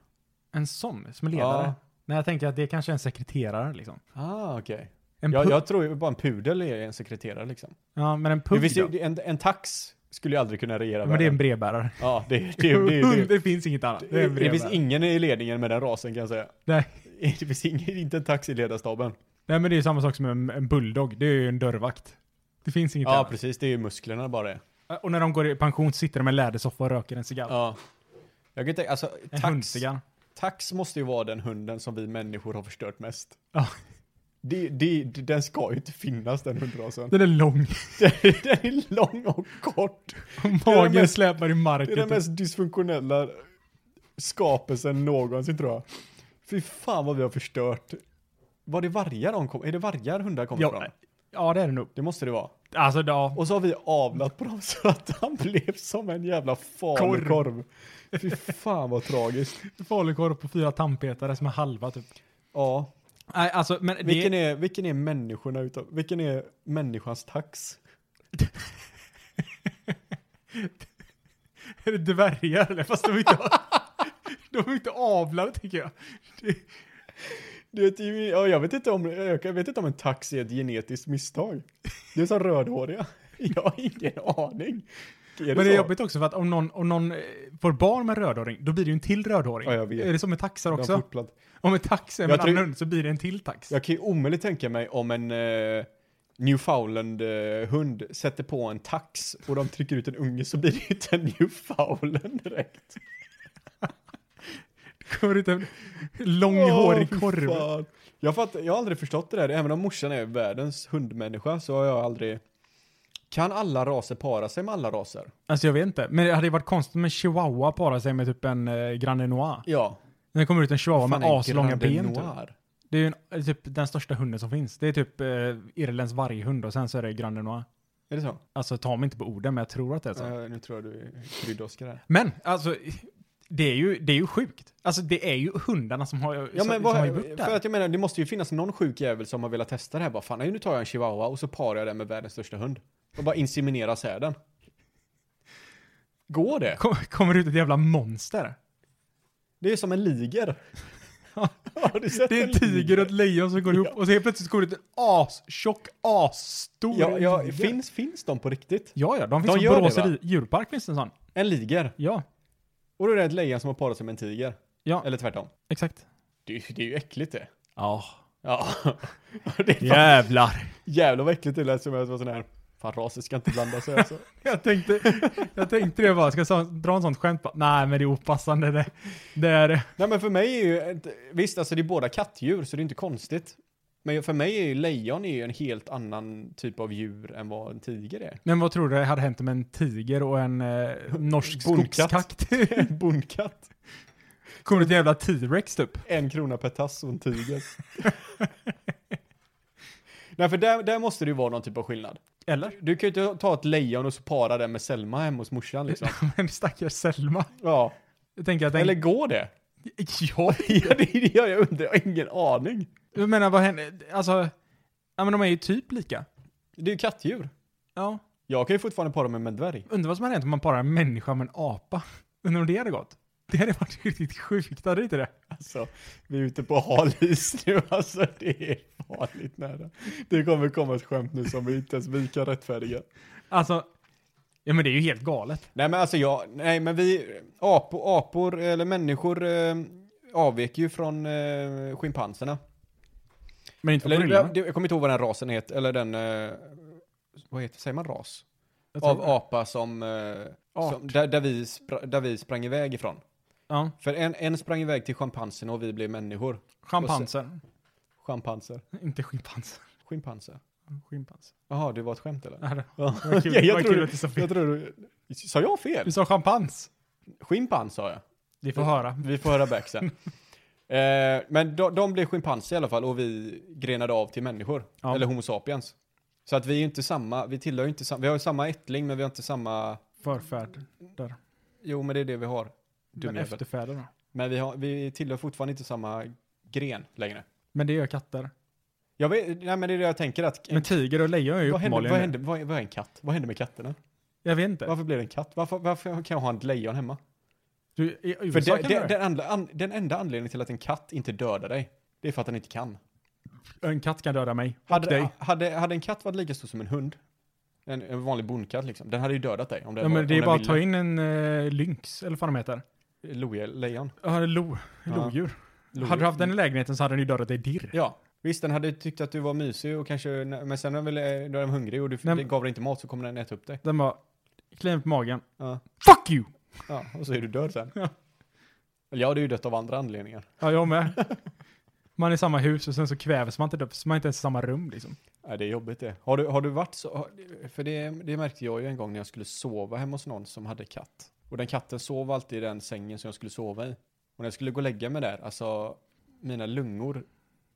[SPEAKER 1] En sån, som en ledare.
[SPEAKER 3] Ja.
[SPEAKER 1] Nej, jag tänker att det kanske är en sekreterare liksom.
[SPEAKER 3] Ah, okej.
[SPEAKER 1] En
[SPEAKER 3] Jag,
[SPEAKER 1] pu-
[SPEAKER 3] jag tror ju bara en pudel är en sekreterare liksom.
[SPEAKER 1] ja, men en
[SPEAKER 3] Det
[SPEAKER 1] pug
[SPEAKER 3] finns
[SPEAKER 1] då?
[SPEAKER 3] ju, en, en tax skulle ju aldrig kunna regera
[SPEAKER 1] Ja, men det är en
[SPEAKER 3] världen.
[SPEAKER 1] brevbärare.
[SPEAKER 3] Ja, det, det, det,
[SPEAKER 1] Det,
[SPEAKER 3] det, det,
[SPEAKER 1] finns inget annat. Det är
[SPEAKER 3] det,
[SPEAKER 1] en
[SPEAKER 3] finns
[SPEAKER 1] brevbärare.
[SPEAKER 3] ingen i ledningen med den rasen kan jag säga.
[SPEAKER 1] Nej.
[SPEAKER 3] Det finns ingen, inte en tax i ledarstaben.
[SPEAKER 1] Nej, men det är ju samma sak som en, en bulldog. Det är ju en dörrvakt. Det finns inget
[SPEAKER 3] Ja,
[SPEAKER 1] annat.
[SPEAKER 3] precis. Det är ju musklerna bara det.
[SPEAKER 1] Och när de går i pension sitter de med en lädersoffa och röker en cigarr.
[SPEAKER 3] Ja. Jag kan inte, alltså,
[SPEAKER 1] en
[SPEAKER 3] tax,
[SPEAKER 1] hundcigarr.
[SPEAKER 3] tax måste ju vara den hunden som vi människor har förstört mest.
[SPEAKER 1] Ja.
[SPEAKER 3] Det, det, det, den ska ju inte finnas den hundrasen.
[SPEAKER 1] Den är lång.
[SPEAKER 3] Den är lång och kort.
[SPEAKER 1] Magen
[SPEAKER 3] mest-
[SPEAKER 1] släpar i
[SPEAKER 3] Det
[SPEAKER 1] marken. typ.
[SPEAKER 3] är den mest dysfunktionella skapelsen någonsin tror jag. Fy fan vad vi har förstört. Var det vargar de kom? Är det vargar hundar kommer
[SPEAKER 1] Ja.
[SPEAKER 3] ifrån?
[SPEAKER 1] Ja, det är det nog.
[SPEAKER 3] Det måste det vara.
[SPEAKER 1] Alltså, ja.
[SPEAKER 3] Och så har vi avlat på dem så att han blev som en jävla falukorv. Fy fan vad tragiskt.
[SPEAKER 1] Falukorv på fyra tandpetare som är halva typ.
[SPEAKER 3] Ja.
[SPEAKER 1] Nej, alltså, men
[SPEAKER 3] Vilken
[SPEAKER 1] det,
[SPEAKER 3] är, vilken är människorna utav, vilken är människans tax?
[SPEAKER 1] är det dvärgar eller? Fast de är inte, de är inte avlade tycker jag. Det,
[SPEAKER 3] Det är ju, ja, jag, vet inte om, jag vet inte om en tax är ett genetiskt misstag. Det är som rödhåriga. Jag har ingen aning. Är det
[SPEAKER 1] men det är
[SPEAKER 3] så?
[SPEAKER 1] jobbigt också för att om någon, om någon eh, får barn med rödhåring, då blir det ju en till rödhåring.
[SPEAKER 3] Ja, jag vet.
[SPEAKER 1] Är det som med taxar
[SPEAKER 3] De har
[SPEAKER 1] också?
[SPEAKER 3] fortplant-
[SPEAKER 1] Om en tax är
[SPEAKER 3] Jag
[SPEAKER 1] med en
[SPEAKER 3] tror-
[SPEAKER 1] annan hund så blir det en till tax.
[SPEAKER 3] Jag kan ju omöjligt tänka mig om en eh, Newfoundland-hund sätter på en tax och de trycker ut en unge så blir det inte en Newfoundland direkt.
[SPEAKER 1] kommer ut en lång
[SPEAKER 3] Åh,
[SPEAKER 1] hårig
[SPEAKER 3] fy
[SPEAKER 1] korv.
[SPEAKER 3] fan. Jag, fattar, jag har aldrig förstått det där, även om morsan är världens hundmänniska så har jag aldrig... Kan alla raser para sig med alla raser?
[SPEAKER 1] Alltså jag vet inte. Men det hade ju varit konstigt med en chihuahua para sig med typ en eh, Grande Noir.
[SPEAKER 3] Ja.
[SPEAKER 1] När det kommer ut en chihuahua med aslånga ben. Typ.
[SPEAKER 3] Noir.
[SPEAKER 1] Det är ju en, eh, typ den största hunden som finns. Det är typ eh, Irländsk varghund och sen så är det Grande Noir.
[SPEAKER 3] Är det så?
[SPEAKER 1] Alltså ta mig inte på orden men jag tror att det är så.
[SPEAKER 3] Eh, nu tror jag du kryddåskar här.
[SPEAKER 1] Men alltså det är, ju, det är ju sjukt. Alltså det är ju hundarna som har,
[SPEAKER 3] Ja,
[SPEAKER 1] som,
[SPEAKER 3] men
[SPEAKER 1] som har
[SPEAKER 3] vad,
[SPEAKER 1] gjort det
[SPEAKER 3] för
[SPEAKER 1] här.
[SPEAKER 3] att jag menar, det måste ju finnas någon sjuk jävel som har velat testa det här. Bara, fan, nej, nu tar jag en chihuahua och så parar jag den med världens största hund. Och bara inseminerar säden. Går det?
[SPEAKER 1] Kom, kommer ut ett jävla monster.
[SPEAKER 3] Det är som en liger.
[SPEAKER 1] Ja.
[SPEAKER 3] Har du sett
[SPEAKER 1] Det är en tiger och ett lejon som går ihop och så helt plötsligt kommer det ut en astjock, asstor
[SPEAKER 3] Ja, ja,
[SPEAKER 1] tiger.
[SPEAKER 3] finns, finns de på riktigt?
[SPEAKER 1] Ja, ja, de finns
[SPEAKER 3] De
[SPEAKER 1] på
[SPEAKER 3] gör det,
[SPEAKER 1] Borås
[SPEAKER 3] va?
[SPEAKER 1] djur- djurpark finns det en sån.
[SPEAKER 3] En liger.
[SPEAKER 1] Ja,
[SPEAKER 3] Och då är det ett lejon som har parat sig med en tiger.
[SPEAKER 1] ja,
[SPEAKER 3] Eller tvärtom.
[SPEAKER 1] exakt.
[SPEAKER 3] Det, är- det är ju äckligt det.
[SPEAKER 1] Ja.
[SPEAKER 3] Ja. Det är fan,
[SPEAKER 1] Jävlar.
[SPEAKER 3] Jävlar vad äckligt det lät som att jag var sån här. Fan, raser ska inte blanda sig alltså.
[SPEAKER 1] Jag tänkte, jag tänkte det bara, ska jag så- dra en sån skämt bara, nej men det är opassande det. Det är det.
[SPEAKER 3] Nej men för mig är ju, ett, visst alltså det är båda kattdjur så det är inte konstigt. Men för mig är ju lejon är ju en helt annan typ av djur än vad en tiger är.
[SPEAKER 1] Men vad tror du hade hänt om en tiger och en eh, norsk
[SPEAKER 3] Bondkatt.
[SPEAKER 1] skogskakt?
[SPEAKER 3] En bondkatt,
[SPEAKER 1] Kommer det ett jävla T-rex typ?
[SPEAKER 3] en krona per tass och en tiger. Nej för där, där måste det ju vara någon typ av skillnad.
[SPEAKER 1] Eller?
[SPEAKER 3] Du kan ju inte ta ett lejon och så para den med Selma hemma hos morsan liksom.
[SPEAKER 1] Men stackars Selma.
[SPEAKER 3] Ja.
[SPEAKER 1] Jag tänker att den...
[SPEAKER 3] Eller går det?
[SPEAKER 1] ja,
[SPEAKER 3] Ja det är det jag undrar, jag har ingen aning.
[SPEAKER 1] jag menar vad händer? Alltså, ja men de är ju typ lika.
[SPEAKER 3] Det är ju kattdjur.
[SPEAKER 1] Ja.
[SPEAKER 3] Jag kan ju fortfarande para mig med en dvärg.
[SPEAKER 1] Undrar vad som hade hänt om man parar en människa med en apa? Undrar om det hade gått? Det hade varit riktigt sjukt, hade det inte det?
[SPEAKER 3] Alltså, vi är ute på halis nu, alltså det är farligt nära. Det kommer komma ett skämt nu som vi inte ens vi kan rättfärdiga.
[SPEAKER 1] Alltså, ja men det är ju helt galet.
[SPEAKER 3] Nej men alltså jag, nej men vi, apor, apor eller människor eh, avviker ju från eh, schimpanserna.
[SPEAKER 1] Men inte på
[SPEAKER 3] Eller, jag,
[SPEAKER 1] brillorna.
[SPEAKER 3] det- jag kommer inte ihåg vad den rasen heter, eller den... Eh, vad heter, säger man ras?
[SPEAKER 1] Jag
[SPEAKER 3] Av
[SPEAKER 1] tror-
[SPEAKER 3] apa som... Eh,
[SPEAKER 1] Art.
[SPEAKER 3] som där, där, vi spra, där vi sprang iväg ifrån.
[SPEAKER 1] Ja,
[SPEAKER 3] För en, en sprang iväg till schimpanserna och vi blev människor.
[SPEAKER 1] schimpanser.
[SPEAKER 3] Schimpanser.
[SPEAKER 1] Inte schimpanser.
[SPEAKER 3] Schimpanser.
[SPEAKER 1] Schimpanser.
[SPEAKER 3] Jaha, det var ett skämt eller?
[SPEAKER 1] Ja, det
[SPEAKER 3] Ja.
[SPEAKER 1] det var kul,
[SPEAKER 3] jag
[SPEAKER 1] det var
[SPEAKER 3] tror
[SPEAKER 1] kul
[SPEAKER 3] det.
[SPEAKER 1] att du sa fel.
[SPEAKER 3] Jag tror du... Sa jag fel?
[SPEAKER 1] Du sa schimpans.
[SPEAKER 3] Schimpans sa jag.
[SPEAKER 1] Vi får höra.
[SPEAKER 3] Vi får höra back sen. eh, men de, de blev schimpanser i alla fall och vi grenade av till människor.
[SPEAKER 1] Ja.
[SPEAKER 3] Eller homo sapiens. Så att vi är ju inte samma, vi tillhör ju inte samma, vi har ju samma ättling men vi har inte samma,
[SPEAKER 1] Förfäder.
[SPEAKER 3] jo men det är det vi har. Dum
[SPEAKER 1] Men
[SPEAKER 3] men,
[SPEAKER 1] efterfäder då.
[SPEAKER 3] men vi, har, vi tillhör fortfarande inte samma gren längre.
[SPEAKER 1] Men det gör katter.
[SPEAKER 3] Jag vet, nej men det är det jag tänker att,
[SPEAKER 1] Men tiger och lejon är ju
[SPEAKER 3] vad, hände,
[SPEAKER 1] uppenbarligen Eh.
[SPEAKER 3] vad, hände, vad, är- vad är en katt? Vad hände med katterna?
[SPEAKER 1] Jag vet inte.
[SPEAKER 3] Varför blev det en katt? Varför, varför kan jag ha en lejon hemma?
[SPEAKER 1] Du, i USA
[SPEAKER 3] För
[SPEAKER 1] kan
[SPEAKER 3] det,
[SPEAKER 1] du
[SPEAKER 3] det,
[SPEAKER 1] det,
[SPEAKER 3] den, andra, an, den enda anledningen till att en katt inte dödar dig, det är för att den inte kan.
[SPEAKER 1] En katt kan döda mig. och
[SPEAKER 3] Hade,
[SPEAKER 1] dig.
[SPEAKER 3] hade, hade en katt varit lika stor som en hund, en, en vanlig bondkatt liksom, den hade ju dödat dig. Om den
[SPEAKER 1] Ja,
[SPEAKER 3] var,
[SPEAKER 1] men det
[SPEAKER 3] om
[SPEAKER 1] är
[SPEAKER 3] den
[SPEAKER 1] bara att
[SPEAKER 3] ville.
[SPEAKER 1] ta in en eh, lynx, eller vad de heter.
[SPEAKER 3] Loje, lejon.
[SPEAKER 1] Ja, lo,
[SPEAKER 3] Ja.
[SPEAKER 1] lodjur.
[SPEAKER 3] Loje.
[SPEAKER 1] Hade du haft den i lägenheten så hade den ju dödat dig dirr.
[SPEAKER 3] Ja. Visst, den hade tyckt att du var mysig och kanske, men sen när den, väl är- då är den hungrig och du
[SPEAKER 1] Nej,
[SPEAKER 3] det
[SPEAKER 1] men-
[SPEAKER 3] gav den inte mat så kommer den äta upp dig.
[SPEAKER 1] Den bara, kliar på magen.
[SPEAKER 3] Ja.
[SPEAKER 1] Fuck you!
[SPEAKER 3] ja, och så är du död sen.
[SPEAKER 1] Ja.
[SPEAKER 3] Eller jag hade ju dött av andra anledningar.
[SPEAKER 1] Ja, jag med. Man är i samma hus och sen så kvävs man inte upp, så man är inte ens i samma rum liksom.
[SPEAKER 3] Nej, det är jobbigt det. Har du, har du varit så, har- för det, det märkte jag ju en gång när jag skulle sova hemma hos någon som hade katt. Och den katten sov alltid i den sängen som jag skulle sova i. Och när jag skulle gå och lägga mig där, alltså mina lungor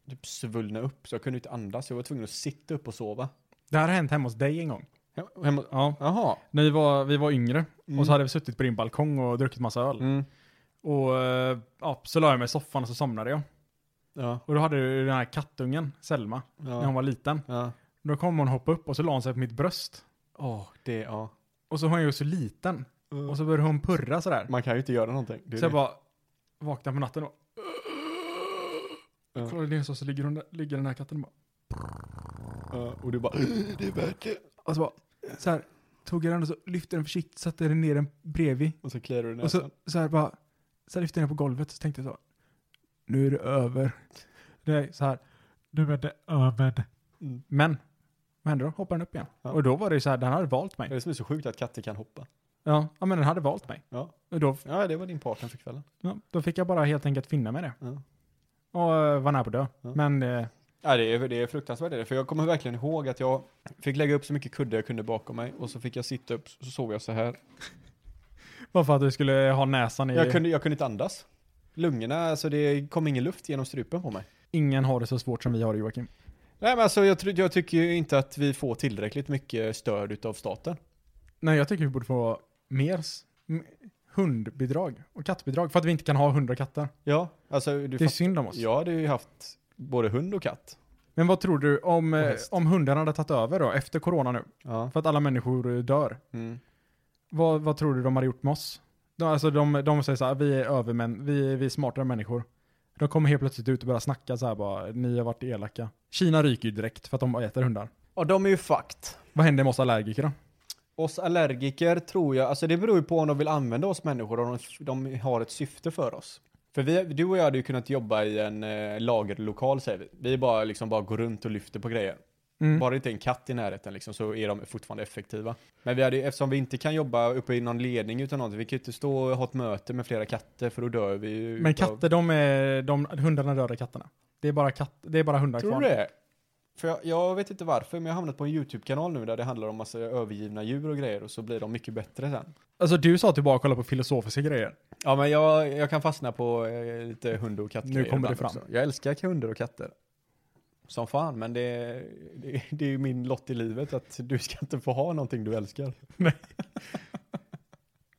[SPEAKER 3] typ svullnade upp så jag kunde inte andas. Jag var tvungen att sitta upp och sova.
[SPEAKER 1] Det här har hänt hemma hos dig en gång.
[SPEAKER 3] Hem- Hemma,
[SPEAKER 1] Ja.
[SPEAKER 3] jaha.
[SPEAKER 1] När vi var, vi var yngre
[SPEAKER 3] Mm.
[SPEAKER 1] och så hade vi suttit på din balkong och druckit massa öl.
[SPEAKER 3] Mm.
[SPEAKER 1] Och eh, ja, så la jag mig i soffan och så somnade jag.
[SPEAKER 3] Ja,
[SPEAKER 1] Och då hade du den här kattungen, Selma, när hon
[SPEAKER 3] ja,
[SPEAKER 1] var liten.
[SPEAKER 3] ja.
[SPEAKER 1] Då kom hon hoppa upp och så la hon sig på mitt bröst.
[SPEAKER 3] Åh, det, ja.
[SPEAKER 1] Och så var hon ju så liten. Och så började hon purra sådär.
[SPEAKER 3] Man kan ju inte göra någonting. Mm. Det är
[SPEAKER 1] Mm. Så jag
[SPEAKER 3] det.
[SPEAKER 1] bara vaknade på natten och...
[SPEAKER 3] Ja.
[SPEAKER 1] Jag kollade ner så, så ligger, hon där, ligger den här katten och bara...
[SPEAKER 3] Ja, och du bara, det är värt det.
[SPEAKER 1] Och så bara... Så här, tog jag den och så lyfte den försiktigt, satte den ner den bredvid.
[SPEAKER 3] Och så kliar du
[SPEAKER 1] Och
[SPEAKER 3] näsan.
[SPEAKER 1] så, så här bara... Så här lyfte jag den på golvet och så tänkte jag så... Nu är det över. Nej, så här. Nu är det över.
[SPEAKER 3] Mm.
[SPEAKER 1] Men, vad hände då? Hoppade den upp igen.
[SPEAKER 3] Ja.
[SPEAKER 1] Och då var det ju så här, den hade valt
[SPEAKER 3] Det är
[SPEAKER 1] mig.
[SPEAKER 3] det som är så sjukt att katter kan hoppa.
[SPEAKER 1] Ja, ja men den hade valt mig.
[SPEAKER 3] Ja,
[SPEAKER 1] Och då,
[SPEAKER 3] ja det var din partner för kvällen.
[SPEAKER 1] ja, då fick jag bara helt enkelt finna mig i det.
[SPEAKER 3] Ja.
[SPEAKER 1] Och eh, var nära på att dö.
[SPEAKER 3] Ja.
[SPEAKER 1] Men... Eh,
[SPEAKER 3] Ja, det är, det är fruktansvärt det är det. för jag kommer verkligen ihåg att jag fick lägga upp så mycket kuddar jag kunde bakom mig och så fick jag sitta upp så sov jag så här.
[SPEAKER 1] Bara för att du skulle ha näsan i...
[SPEAKER 3] Jag kunde, jag kunde inte andas. Lungorna, alltså det kom ingen luft genom strupen på mig.
[SPEAKER 1] Ingen har det så svårt som vi har det Joakim.
[SPEAKER 3] Nej men alltså jag, tr- jag tycker ju inte att vi får tillräckligt mycket stöd utav staten.
[SPEAKER 1] Nej, jag tycker vi borde få mer s- m- hundbidrag och kattbidrag för att vi inte kan ha hundra katter.
[SPEAKER 3] Ja, alltså du
[SPEAKER 1] Det är
[SPEAKER 3] fattar.
[SPEAKER 1] synd om oss.
[SPEAKER 3] Jag hade ju haft både hund och katt.
[SPEAKER 1] Men vad tror du om, eh,
[SPEAKER 3] häst.
[SPEAKER 1] om hundarna hade tagit över då, efter corona nu?
[SPEAKER 3] Ja.
[SPEAKER 1] För att alla människor eh, dör.
[SPEAKER 3] Mm.
[SPEAKER 1] Vad, vad tror du de hade gjort med oss? De, alltså de, de säger så här, vi är övermän, vi, vi är smartare människor. De kommer helt plötsligt ut och börjar snacka så här bara, ni har varit elaka. Kina ryker ju direkt för att de äter hundar.
[SPEAKER 3] Ja, de är ju fucked.
[SPEAKER 1] Vad händer med oss allergiker då?
[SPEAKER 3] Oss allergiker tror jag, alltså det beror ju på om de vill använda oss människor, om de, de har ett syfte för oss. För vi, du och jag hade ju kunnat jobba i en eh, lagerlokal säger vi. Vi bara liksom bara går runt och lyfter på grejer.
[SPEAKER 1] Mm.
[SPEAKER 3] Bara det inte är en katt i närheten liksom, så är de fortfarande effektiva. Men vi hade, ju- eftersom vi inte kan jobba uppe i någon ledning utan någonting, vi kan ju inte stå och ha ett möte med flera katter för då dör vi ju.
[SPEAKER 1] Men
[SPEAKER 3] utav-
[SPEAKER 1] katter, de är, de, hundarna dödar katterna. Det är bara, katt, det är bara hundar
[SPEAKER 3] Tror
[SPEAKER 1] kvar.
[SPEAKER 3] du det? För jag, jag vet inte varför, men jag har hamnat på en YouTube-kanal nu där det handlar om massa övergivna djur och grejer och så blir de mycket bättre sen.
[SPEAKER 1] Alltså du sa att du bara kollar på filosofiska grejer.
[SPEAKER 3] Ja, men jag, jag kan fastna på eh, lite hund och kattgrejer.
[SPEAKER 1] Nu kommer det
[SPEAKER 3] ibland
[SPEAKER 1] fram.
[SPEAKER 3] Jag älskar hundar och katter. Som fan, men det, det, det är ju min lott i livet att du ska inte få ha någonting du älskar.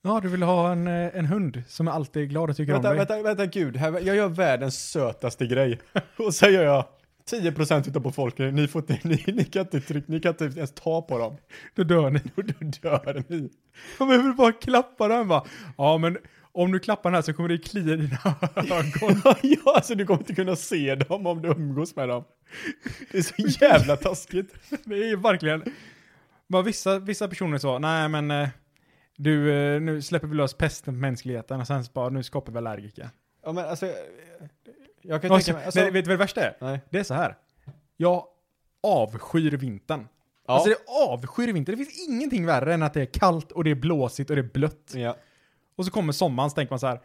[SPEAKER 1] Ja, du vill ha en, eh, en hund som är alltid glad och tycker
[SPEAKER 3] Vänta,
[SPEAKER 1] om dig.
[SPEAKER 3] vänta, vänta, gud. Här, jag gör världens sötaste grej. Och så gör jag 10% utav befolkningen, ni, får inte, ni, ni, kan inte tryck, ni kan inte ens ta på dem.
[SPEAKER 1] Då dör ni.
[SPEAKER 3] Och då dör ni.
[SPEAKER 1] De vill bara klappa den bara. Ja, men om du klappar den här så kommer det klia i dina ögon.
[SPEAKER 3] ja, alltså du kommer inte kunna se dem om du umgås med dem. Det är så jävla taskigt.
[SPEAKER 1] Det är ju verkligen... Bara vissa, vissa personer sa, nej men eh, du, eh, nu släpper vi lös pesten på mänskligheten och sen så bara, nu skapar vi allergiker.
[SPEAKER 3] Ja, men alltså... Jag kan
[SPEAKER 1] Och
[SPEAKER 3] tänka
[SPEAKER 1] så,
[SPEAKER 3] mig... Alltså,
[SPEAKER 1] nej, vet du vad det värsta är?
[SPEAKER 3] Nej.
[SPEAKER 1] Det är så här. Jag avskyr vintern.
[SPEAKER 3] Ja.
[SPEAKER 1] Alltså det avskyr vintern. Det finns ingenting värre än att det är kallt och det är blåsigt och det är blött.
[SPEAKER 3] ja.
[SPEAKER 1] Och så kommer sommaren så tänker man så här.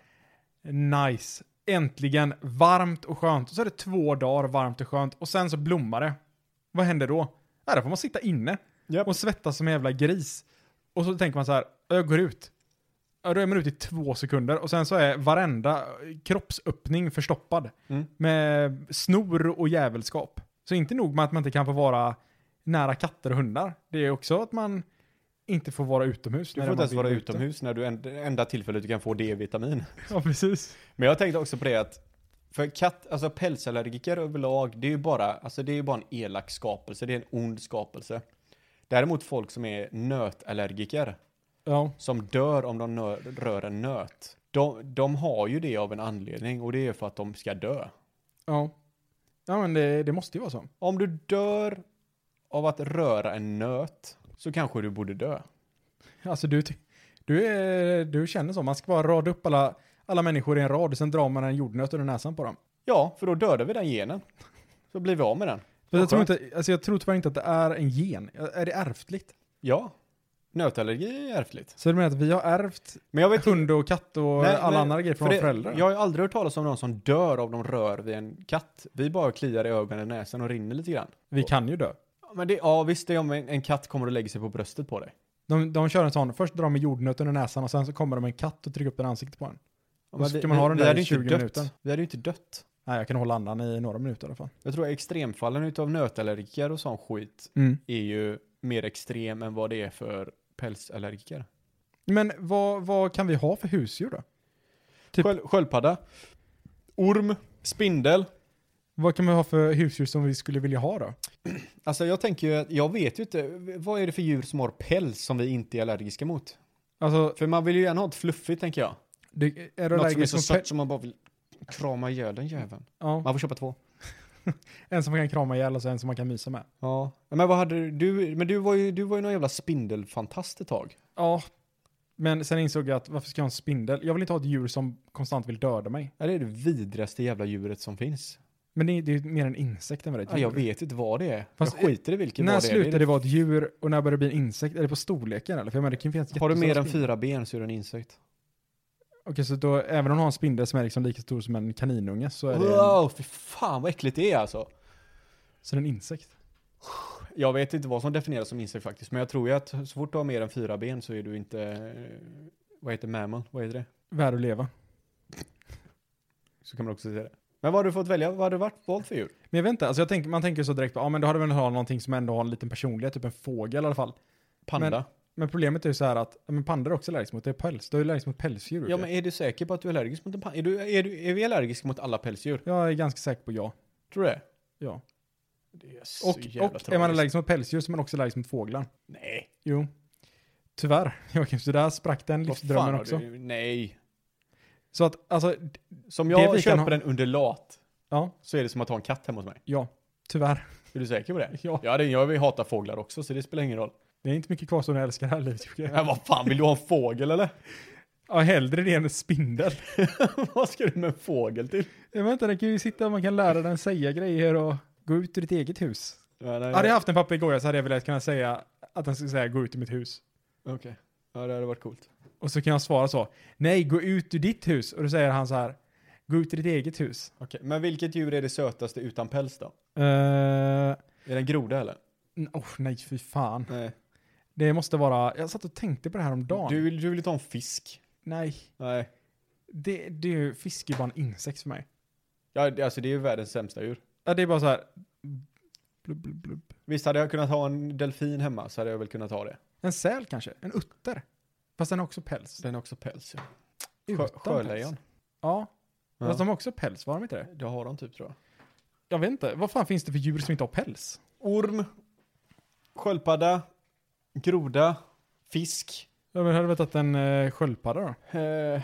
[SPEAKER 1] Nice. Äntligen varmt och skönt. Och så är det två dagar varmt och skönt. Och sen så blommar det. Vad händer då? Ja, då får man sitta inne.
[SPEAKER 3] Japp.
[SPEAKER 1] Och svettas som en jävla gris. Och så tänker man så här. "Ja, Jag går ut. Ja, då är man ute i två sekunder. Och sen så är varenda kroppsöppning förstoppad.
[SPEAKER 3] Mm.
[SPEAKER 1] Med snor och jävelskap. Så inte nog med att man inte kan få vara nära katter och hundar. Det är också att man inte får vara utomhus.
[SPEAKER 3] Du
[SPEAKER 1] när
[SPEAKER 3] får inte
[SPEAKER 1] man
[SPEAKER 3] ens
[SPEAKER 1] vill
[SPEAKER 3] vara
[SPEAKER 1] ute.
[SPEAKER 3] utomhus när du en- det enda tillfället du kan få D-vitamin.
[SPEAKER 1] Ja, precis.
[SPEAKER 3] Men jag tänkte också på det att för katt, alltså pälsallergiker överlag, det är ju bara, alltså det är ju bara en elak skapelse, det är en ond skapelse. Däremot folk som är nötallergiker,
[SPEAKER 1] Ja.
[SPEAKER 3] som dör om de nö- rör en nöt, de, de har ju det av en anledning och det är för att de ska dö.
[SPEAKER 1] Ja. Ja men det, det måste ju vara så.
[SPEAKER 3] Om du dör av att röra en nöt så kanske du borde dö.
[SPEAKER 1] Alltså du, ty- du, är, du känner så. Man ska bara rada upp alla, alla människor i en rad och sen drar man en jordnöt under näsan på dem.
[SPEAKER 3] Ja, för då dödar vi den genen. Så blir vi av med den.
[SPEAKER 1] Men jag, tror
[SPEAKER 3] skönt.
[SPEAKER 1] inte, alltså jag tror tyvärr inte att det är en gen. Är det ärftligt?
[SPEAKER 3] Ja, nötallergi är ärftligt.
[SPEAKER 1] Så du menar att vi har ärvt
[SPEAKER 3] Men jag vet
[SPEAKER 1] hund och katt och
[SPEAKER 3] Nej,
[SPEAKER 1] alla
[SPEAKER 3] men-
[SPEAKER 1] andra grejer från våra
[SPEAKER 3] för det-
[SPEAKER 1] föräldrar?
[SPEAKER 3] Jag har ju aldrig hört talas om någon som dör av de rör vid en katt. Vi bara kliar i ögonen, näsan och rinner lite grann.
[SPEAKER 1] Vi kan ju dö.
[SPEAKER 3] Ja, Men det, ja, visst det är om en, en katt kommer och lägger sig på bröstet på dig.
[SPEAKER 1] De, de kör en sån, först drar de med jordnöt under näsan och sen så kommer de med en katt och trycker upp den i ansiktet på en.
[SPEAKER 3] Ja,
[SPEAKER 1] Varför
[SPEAKER 3] vi-
[SPEAKER 1] ska man ha
[SPEAKER 3] vi-
[SPEAKER 1] den
[SPEAKER 3] vi
[SPEAKER 1] där
[SPEAKER 3] hade
[SPEAKER 1] i
[SPEAKER 3] ju inte
[SPEAKER 1] 20
[SPEAKER 3] dött.
[SPEAKER 1] minuter?
[SPEAKER 3] Vi hade ju inte dött.
[SPEAKER 1] Nej, jag kan hålla andan i några minuter i alla fall.
[SPEAKER 3] Jag tror extremfallen utav nötallergiker och sån skit är ju mer extrem än vad det är för pälsallergiker.
[SPEAKER 1] Men vad, vad kan vi ha för husdjur då? Typ-
[SPEAKER 3] Sköld, sköldpadda, orm, spindel.
[SPEAKER 1] Vad kan vi ha för husdjur som vi skulle vilja ha då?
[SPEAKER 3] Alltså jag tänker ju, att- jag vet ju inte, vad är det för djur som har päls som vi inte är allergiska mot?
[SPEAKER 1] Alltså,
[SPEAKER 3] För man vill ju gärna ha ett fluffigt tänker jag.
[SPEAKER 1] det, är du
[SPEAKER 3] Något som är
[SPEAKER 1] allergisk
[SPEAKER 3] så
[SPEAKER 1] mot Mm. pe-
[SPEAKER 3] sött som man bara vill krama ihjäl den jäveln.
[SPEAKER 1] Ja,
[SPEAKER 3] Man får köpa två.
[SPEAKER 1] en som man kan krama ihjäl och så en som man kan mysa med.
[SPEAKER 3] Ja. Men vad hade du- du, men du var ju, du var ju någon jävla spindelfantast ett tag.
[SPEAKER 1] Ja, men sen insåg jag att varför ska jag ha en spindel? Jag vill inte ha ett djur som konstant vill döda mig.
[SPEAKER 3] Ja, Det är det vidraste jävla djuret som finns.
[SPEAKER 1] Men det är, det är ju mer en insekt än vad det är
[SPEAKER 3] Ja,
[SPEAKER 1] ett
[SPEAKER 3] jag
[SPEAKER 1] djur.
[SPEAKER 3] vet inte vad det är.
[SPEAKER 1] Fast-
[SPEAKER 3] jag skiter i vilken
[SPEAKER 1] när
[SPEAKER 3] vad det är.
[SPEAKER 1] slutar
[SPEAKER 3] det
[SPEAKER 1] det vara ett djur och när börjar det bli en insekt? Är det på storleken eller? För jag menar, det kan ju finnas
[SPEAKER 3] är Har du mer
[SPEAKER 1] jättestora
[SPEAKER 3] än
[SPEAKER 1] spindlar.
[SPEAKER 3] fyra ben så är det en insekt.
[SPEAKER 1] Okej, så då, även om du har en spindel som är liksom lika stor som en kaninunge så är det en,
[SPEAKER 3] Wow, fy fan vad äckligt det är alltså.
[SPEAKER 1] så är det en insekt.
[SPEAKER 3] Jag vet inte vad som definieras som insekt faktiskt, men jag tror ju att så fort du har mer än fyra ben så är du inte, eh, vad heter mammal, vad heter det?
[SPEAKER 1] Värd att leva.
[SPEAKER 3] Så kan man också säga det. Men vad har du fått välja, vad har du varit valt för djur?
[SPEAKER 1] Men jag vet inte, alltså jag tänker, man tänker så direkt på, ja men då hade vi velat ha någonting som ändå har en liten personlighet, typ en fågel i alla fall.
[SPEAKER 3] Panda.
[SPEAKER 1] Men- Men problemet är ju så här att, ja, men pandor är också allergisk mot, det är päls, du är allergisk mot pälsdjur. ju.
[SPEAKER 3] Ja, men är du säker på att du är allergisk mot en panda? Är, du, är, du, är vi allergiska mot alla pälsdjur?
[SPEAKER 1] Jag är ganska säker på ja.
[SPEAKER 3] Tror du det?
[SPEAKER 1] ja.
[SPEAKER 3] Det är
[SPEAKER 1] Och, och är man allergisk mot pälsdjur så är man också allergisk mot fåglar.
[SPEAKER 3] Nej.
[SPEAKER 1] Jo. Tyvärr, Joakim, så där sprack den livsdrömmen också.
[SPEAKER 3] Du, nej.
[SPEAKER 1] Så att, alltså, d-
[SPEAKER 3] Som
[SPEAKER 1] Det
[SPEAKER 3] jag
[SPEAKER 1] vi kan
[SPEAKER 3] köper
[SPEAKER 1] ha-
[SPEAKER 3] en undulat
[SPEAKER 1] ja,
[SPEAKER 3] så är det som att ha en katt hemma hos mig.
[SPEAKER 1] ja, tyvärr.
[SPEAKER 3] Är du säker på det?
[SPEAKER 1] Ja.
[SPEAKER 3] Ja, det, jag hatar fåglar också så det spelar ingen roll.
[SPEAKER 1] Det är inte mycket kvar som jag älskar det här livet, Joakim.
[SPEAKER 3] Men vad fan, vill du ha en fågel eller?
[SPEAKER 1] Ja, hellre det än en spindel.
[SPEAKER 3] vad ska du med en fågel till?
[SPEAKER 1] Jag vet inte, den kan ju sitta och man kan lära den säga grejer och gå ut ur ditt eget hus.
[SPEAKER 3] Ja, nej,
[SPEAKER 1] Hade jag haft en papegoja så hade jag velat kunna säga att den skulle säga gå ut ur mitt hus.
[SPEAKER 3] Okej. Ja, det hade varit coolt.
[SPEAKER 1] Och så kan jag svara så. Nej, gå ut ur ditt hus. Och då säger han så här. Gå ut ur ditt eget hus.
[SPEAKER 3] Okej, men vilket djur är det sötaste utan päls då?
[SPEAKER 1] Uh,
[SPEAKER 3] Är det en groda eller?
[SPEAKER 1] oh, nej, fy fan.
[SPEAKER 3] Nej.
[SPEAKER 1] Det måste vara... Jag satt och tänkte på det här om dagen.
[SPEAKER 3] Du vill, du vill ta en fisk?
[SPEAKER 1] Nej,
[SPEAKER 3] Nej.
[SPEAKER 1] det, det är ju... Fisk är bara en insekt för mig.
[SPEAKER 3] Ja, det- alltså det är ju världens sämsta djur.
[SPEAKER 1] Ja, det är bara så här... Blub, blub, blub.
[SPEAKER 3] Visst, hade jag kunnat ha en delfin hemma så hade jag väl kunnat ha det.
[SPEAKER 1] En säl kanske? En utter? Fast den har också päls.
[SPEAKER 3] Den har också päls. Ja.
[SPEAKER 1] Utan
[SPEAKER 3] Sjö,
[SPEAKER 1] päls.
[SPEAKER 3] sjölejon.
[SPEAKER 1] Ja.
[SPEAKER 3] Ja.
[SPEAKER 1] Fast de har också päls, var de inte det?
[SPEAKER 3] Det har de typ tror jag.
[SPEAKER 1] Jag vet inte. Vad fan finns det för djur som inte har päls?
[SPEAKER 3] Orm, sköldpadda, groda, fisk.
[SPEAKER 1] Jag hade velat att en uh, sköldpadda då.
[SPEAKER 3] Eh,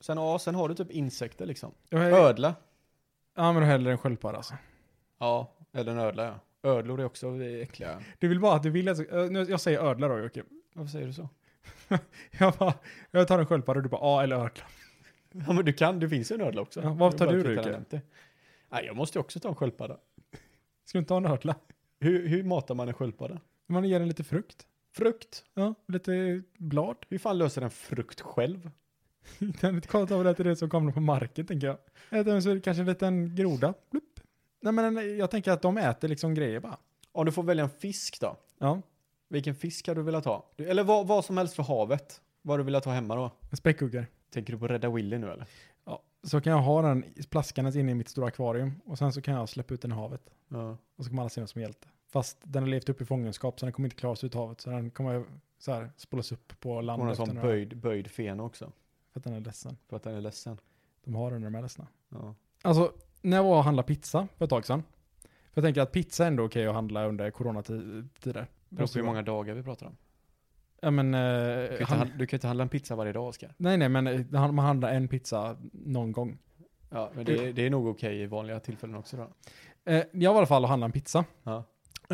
[SPEAKER 3] sen, ja, sen har du typ insekter liksom.
[SPEAKER 1] Jag,
[SPEAKER 3] Ödla.
[SPEAKER 1] Ja, men då hellre en sköldpadda alltså.
[SPEAKER 3] Ja, eller en ödla ja. Ödlor är också äckliga.
[SPEAKER 1] Du vill bara att du vill att... eh, nu- Jag säger ödla då Jocke.
[SPEAKER 3] Varför säger du så?
[SPEAKER 1] Jag, bara, jag tar en sköldpadda och du bara ja eller ödla.
[SPEAKER 3] Ja men du kan, det finns ju en ödla också.
[SPEAKER 1] Ja, vad
[SPEAKER 3] Det är
[SPEAKER 1] tar
[SPEAKER 3] bara
[SPEAKER 1] du
[SPEAKER 3] att
[SPEAKER 1] då,
[SPEAKER 3] titta
[SPEAKER 1] Jocke?
[SPEAKER 3] den inte. Nej, jag måste ju också ta en sköldpadda.
[SPEAKER 1] Ska du inte ha en ödla?
[SPEAKER 3] Hur, hur matar man en sköldpadda?
[SPEAKER 1] Man ger den lite frukt.
[SPEAKER 3] Frukt.
[SPEAKER 1] Ja, lite blad.
[SPEAKER 3] Hur fan löser en frukt själv?
[SPEAKER 1] Det är lite konstigt att det är det som kommer på marken tänker jag. Äter så är det kanske en liten groda. Blupp. Nej men en- jag tänker att de äter liksom grejer bara.
[SPEAKER 3] Om du får välja en fisk då?
[SPEAKER 1] Ja.
[SPEAKER 3] Vilken fisk hade du velat ha? Du- Eller vad, vad som helst för havet. Vad hade du velat ha hemma då?
[SPEAKER 1] En späckhuggare.
[SPEAKER 3] Tänker du på Rädda Willy nu eller?
[SPEAKER 1] Ja. Så kan jag ha den plaskandes inne i mitt stora akvarium och sen så kan jag släppa ut den i havet.
[SPEAKER 3] Ja.
[SPEAKER 1] Och så kommer alla se den som hjälte. Fast den har levt upp i fångenskap så den kommer inte klara sig ut i havet. Så den kommer så här spolas upp på land.
[SPEAKER 3] Hon har en
[SPEAKER 1] efter
[SPEAKER 3] sån
[SPEAKER 1] några-
[SPEAKER 3] böjd, böjd fena också.
[SPEAKER 1] För att den är ledsen.
[SPEAKER 3] För att den är ledsen.
[SPEAKER 1] De har den när de är ledsna.
[SPEAKER 3] Ja.
[SPEAKER 1] Alltså, när jag var och handlade pizza för ett tag sedan. För jag tänker att pizza är ändå okej att handla under coronatider.
[SPEAKER 3] Beror på hur många dagar vi pratar om.
[SPEAKER 1] Ja men...
[SPEAKER 3] Du
[SPEAKER 1] Eh,
[SPEAKER 3] kan,
[SPEAKER 1] han,
[SPEAKER 3] inte, han... du kan inte handla en pizza varje dag Oskar.
[SPEAKER 1] nej nej men eh, han- man handlar en pizza någon gång.
[SPEAKER 3] Ja, men det, det är nog okej i vanliga tillfällen också då.
[SPEAKER 1] Eh, jag var i alla fall och handlade en pizza.
[SPEAKER 3] Ja.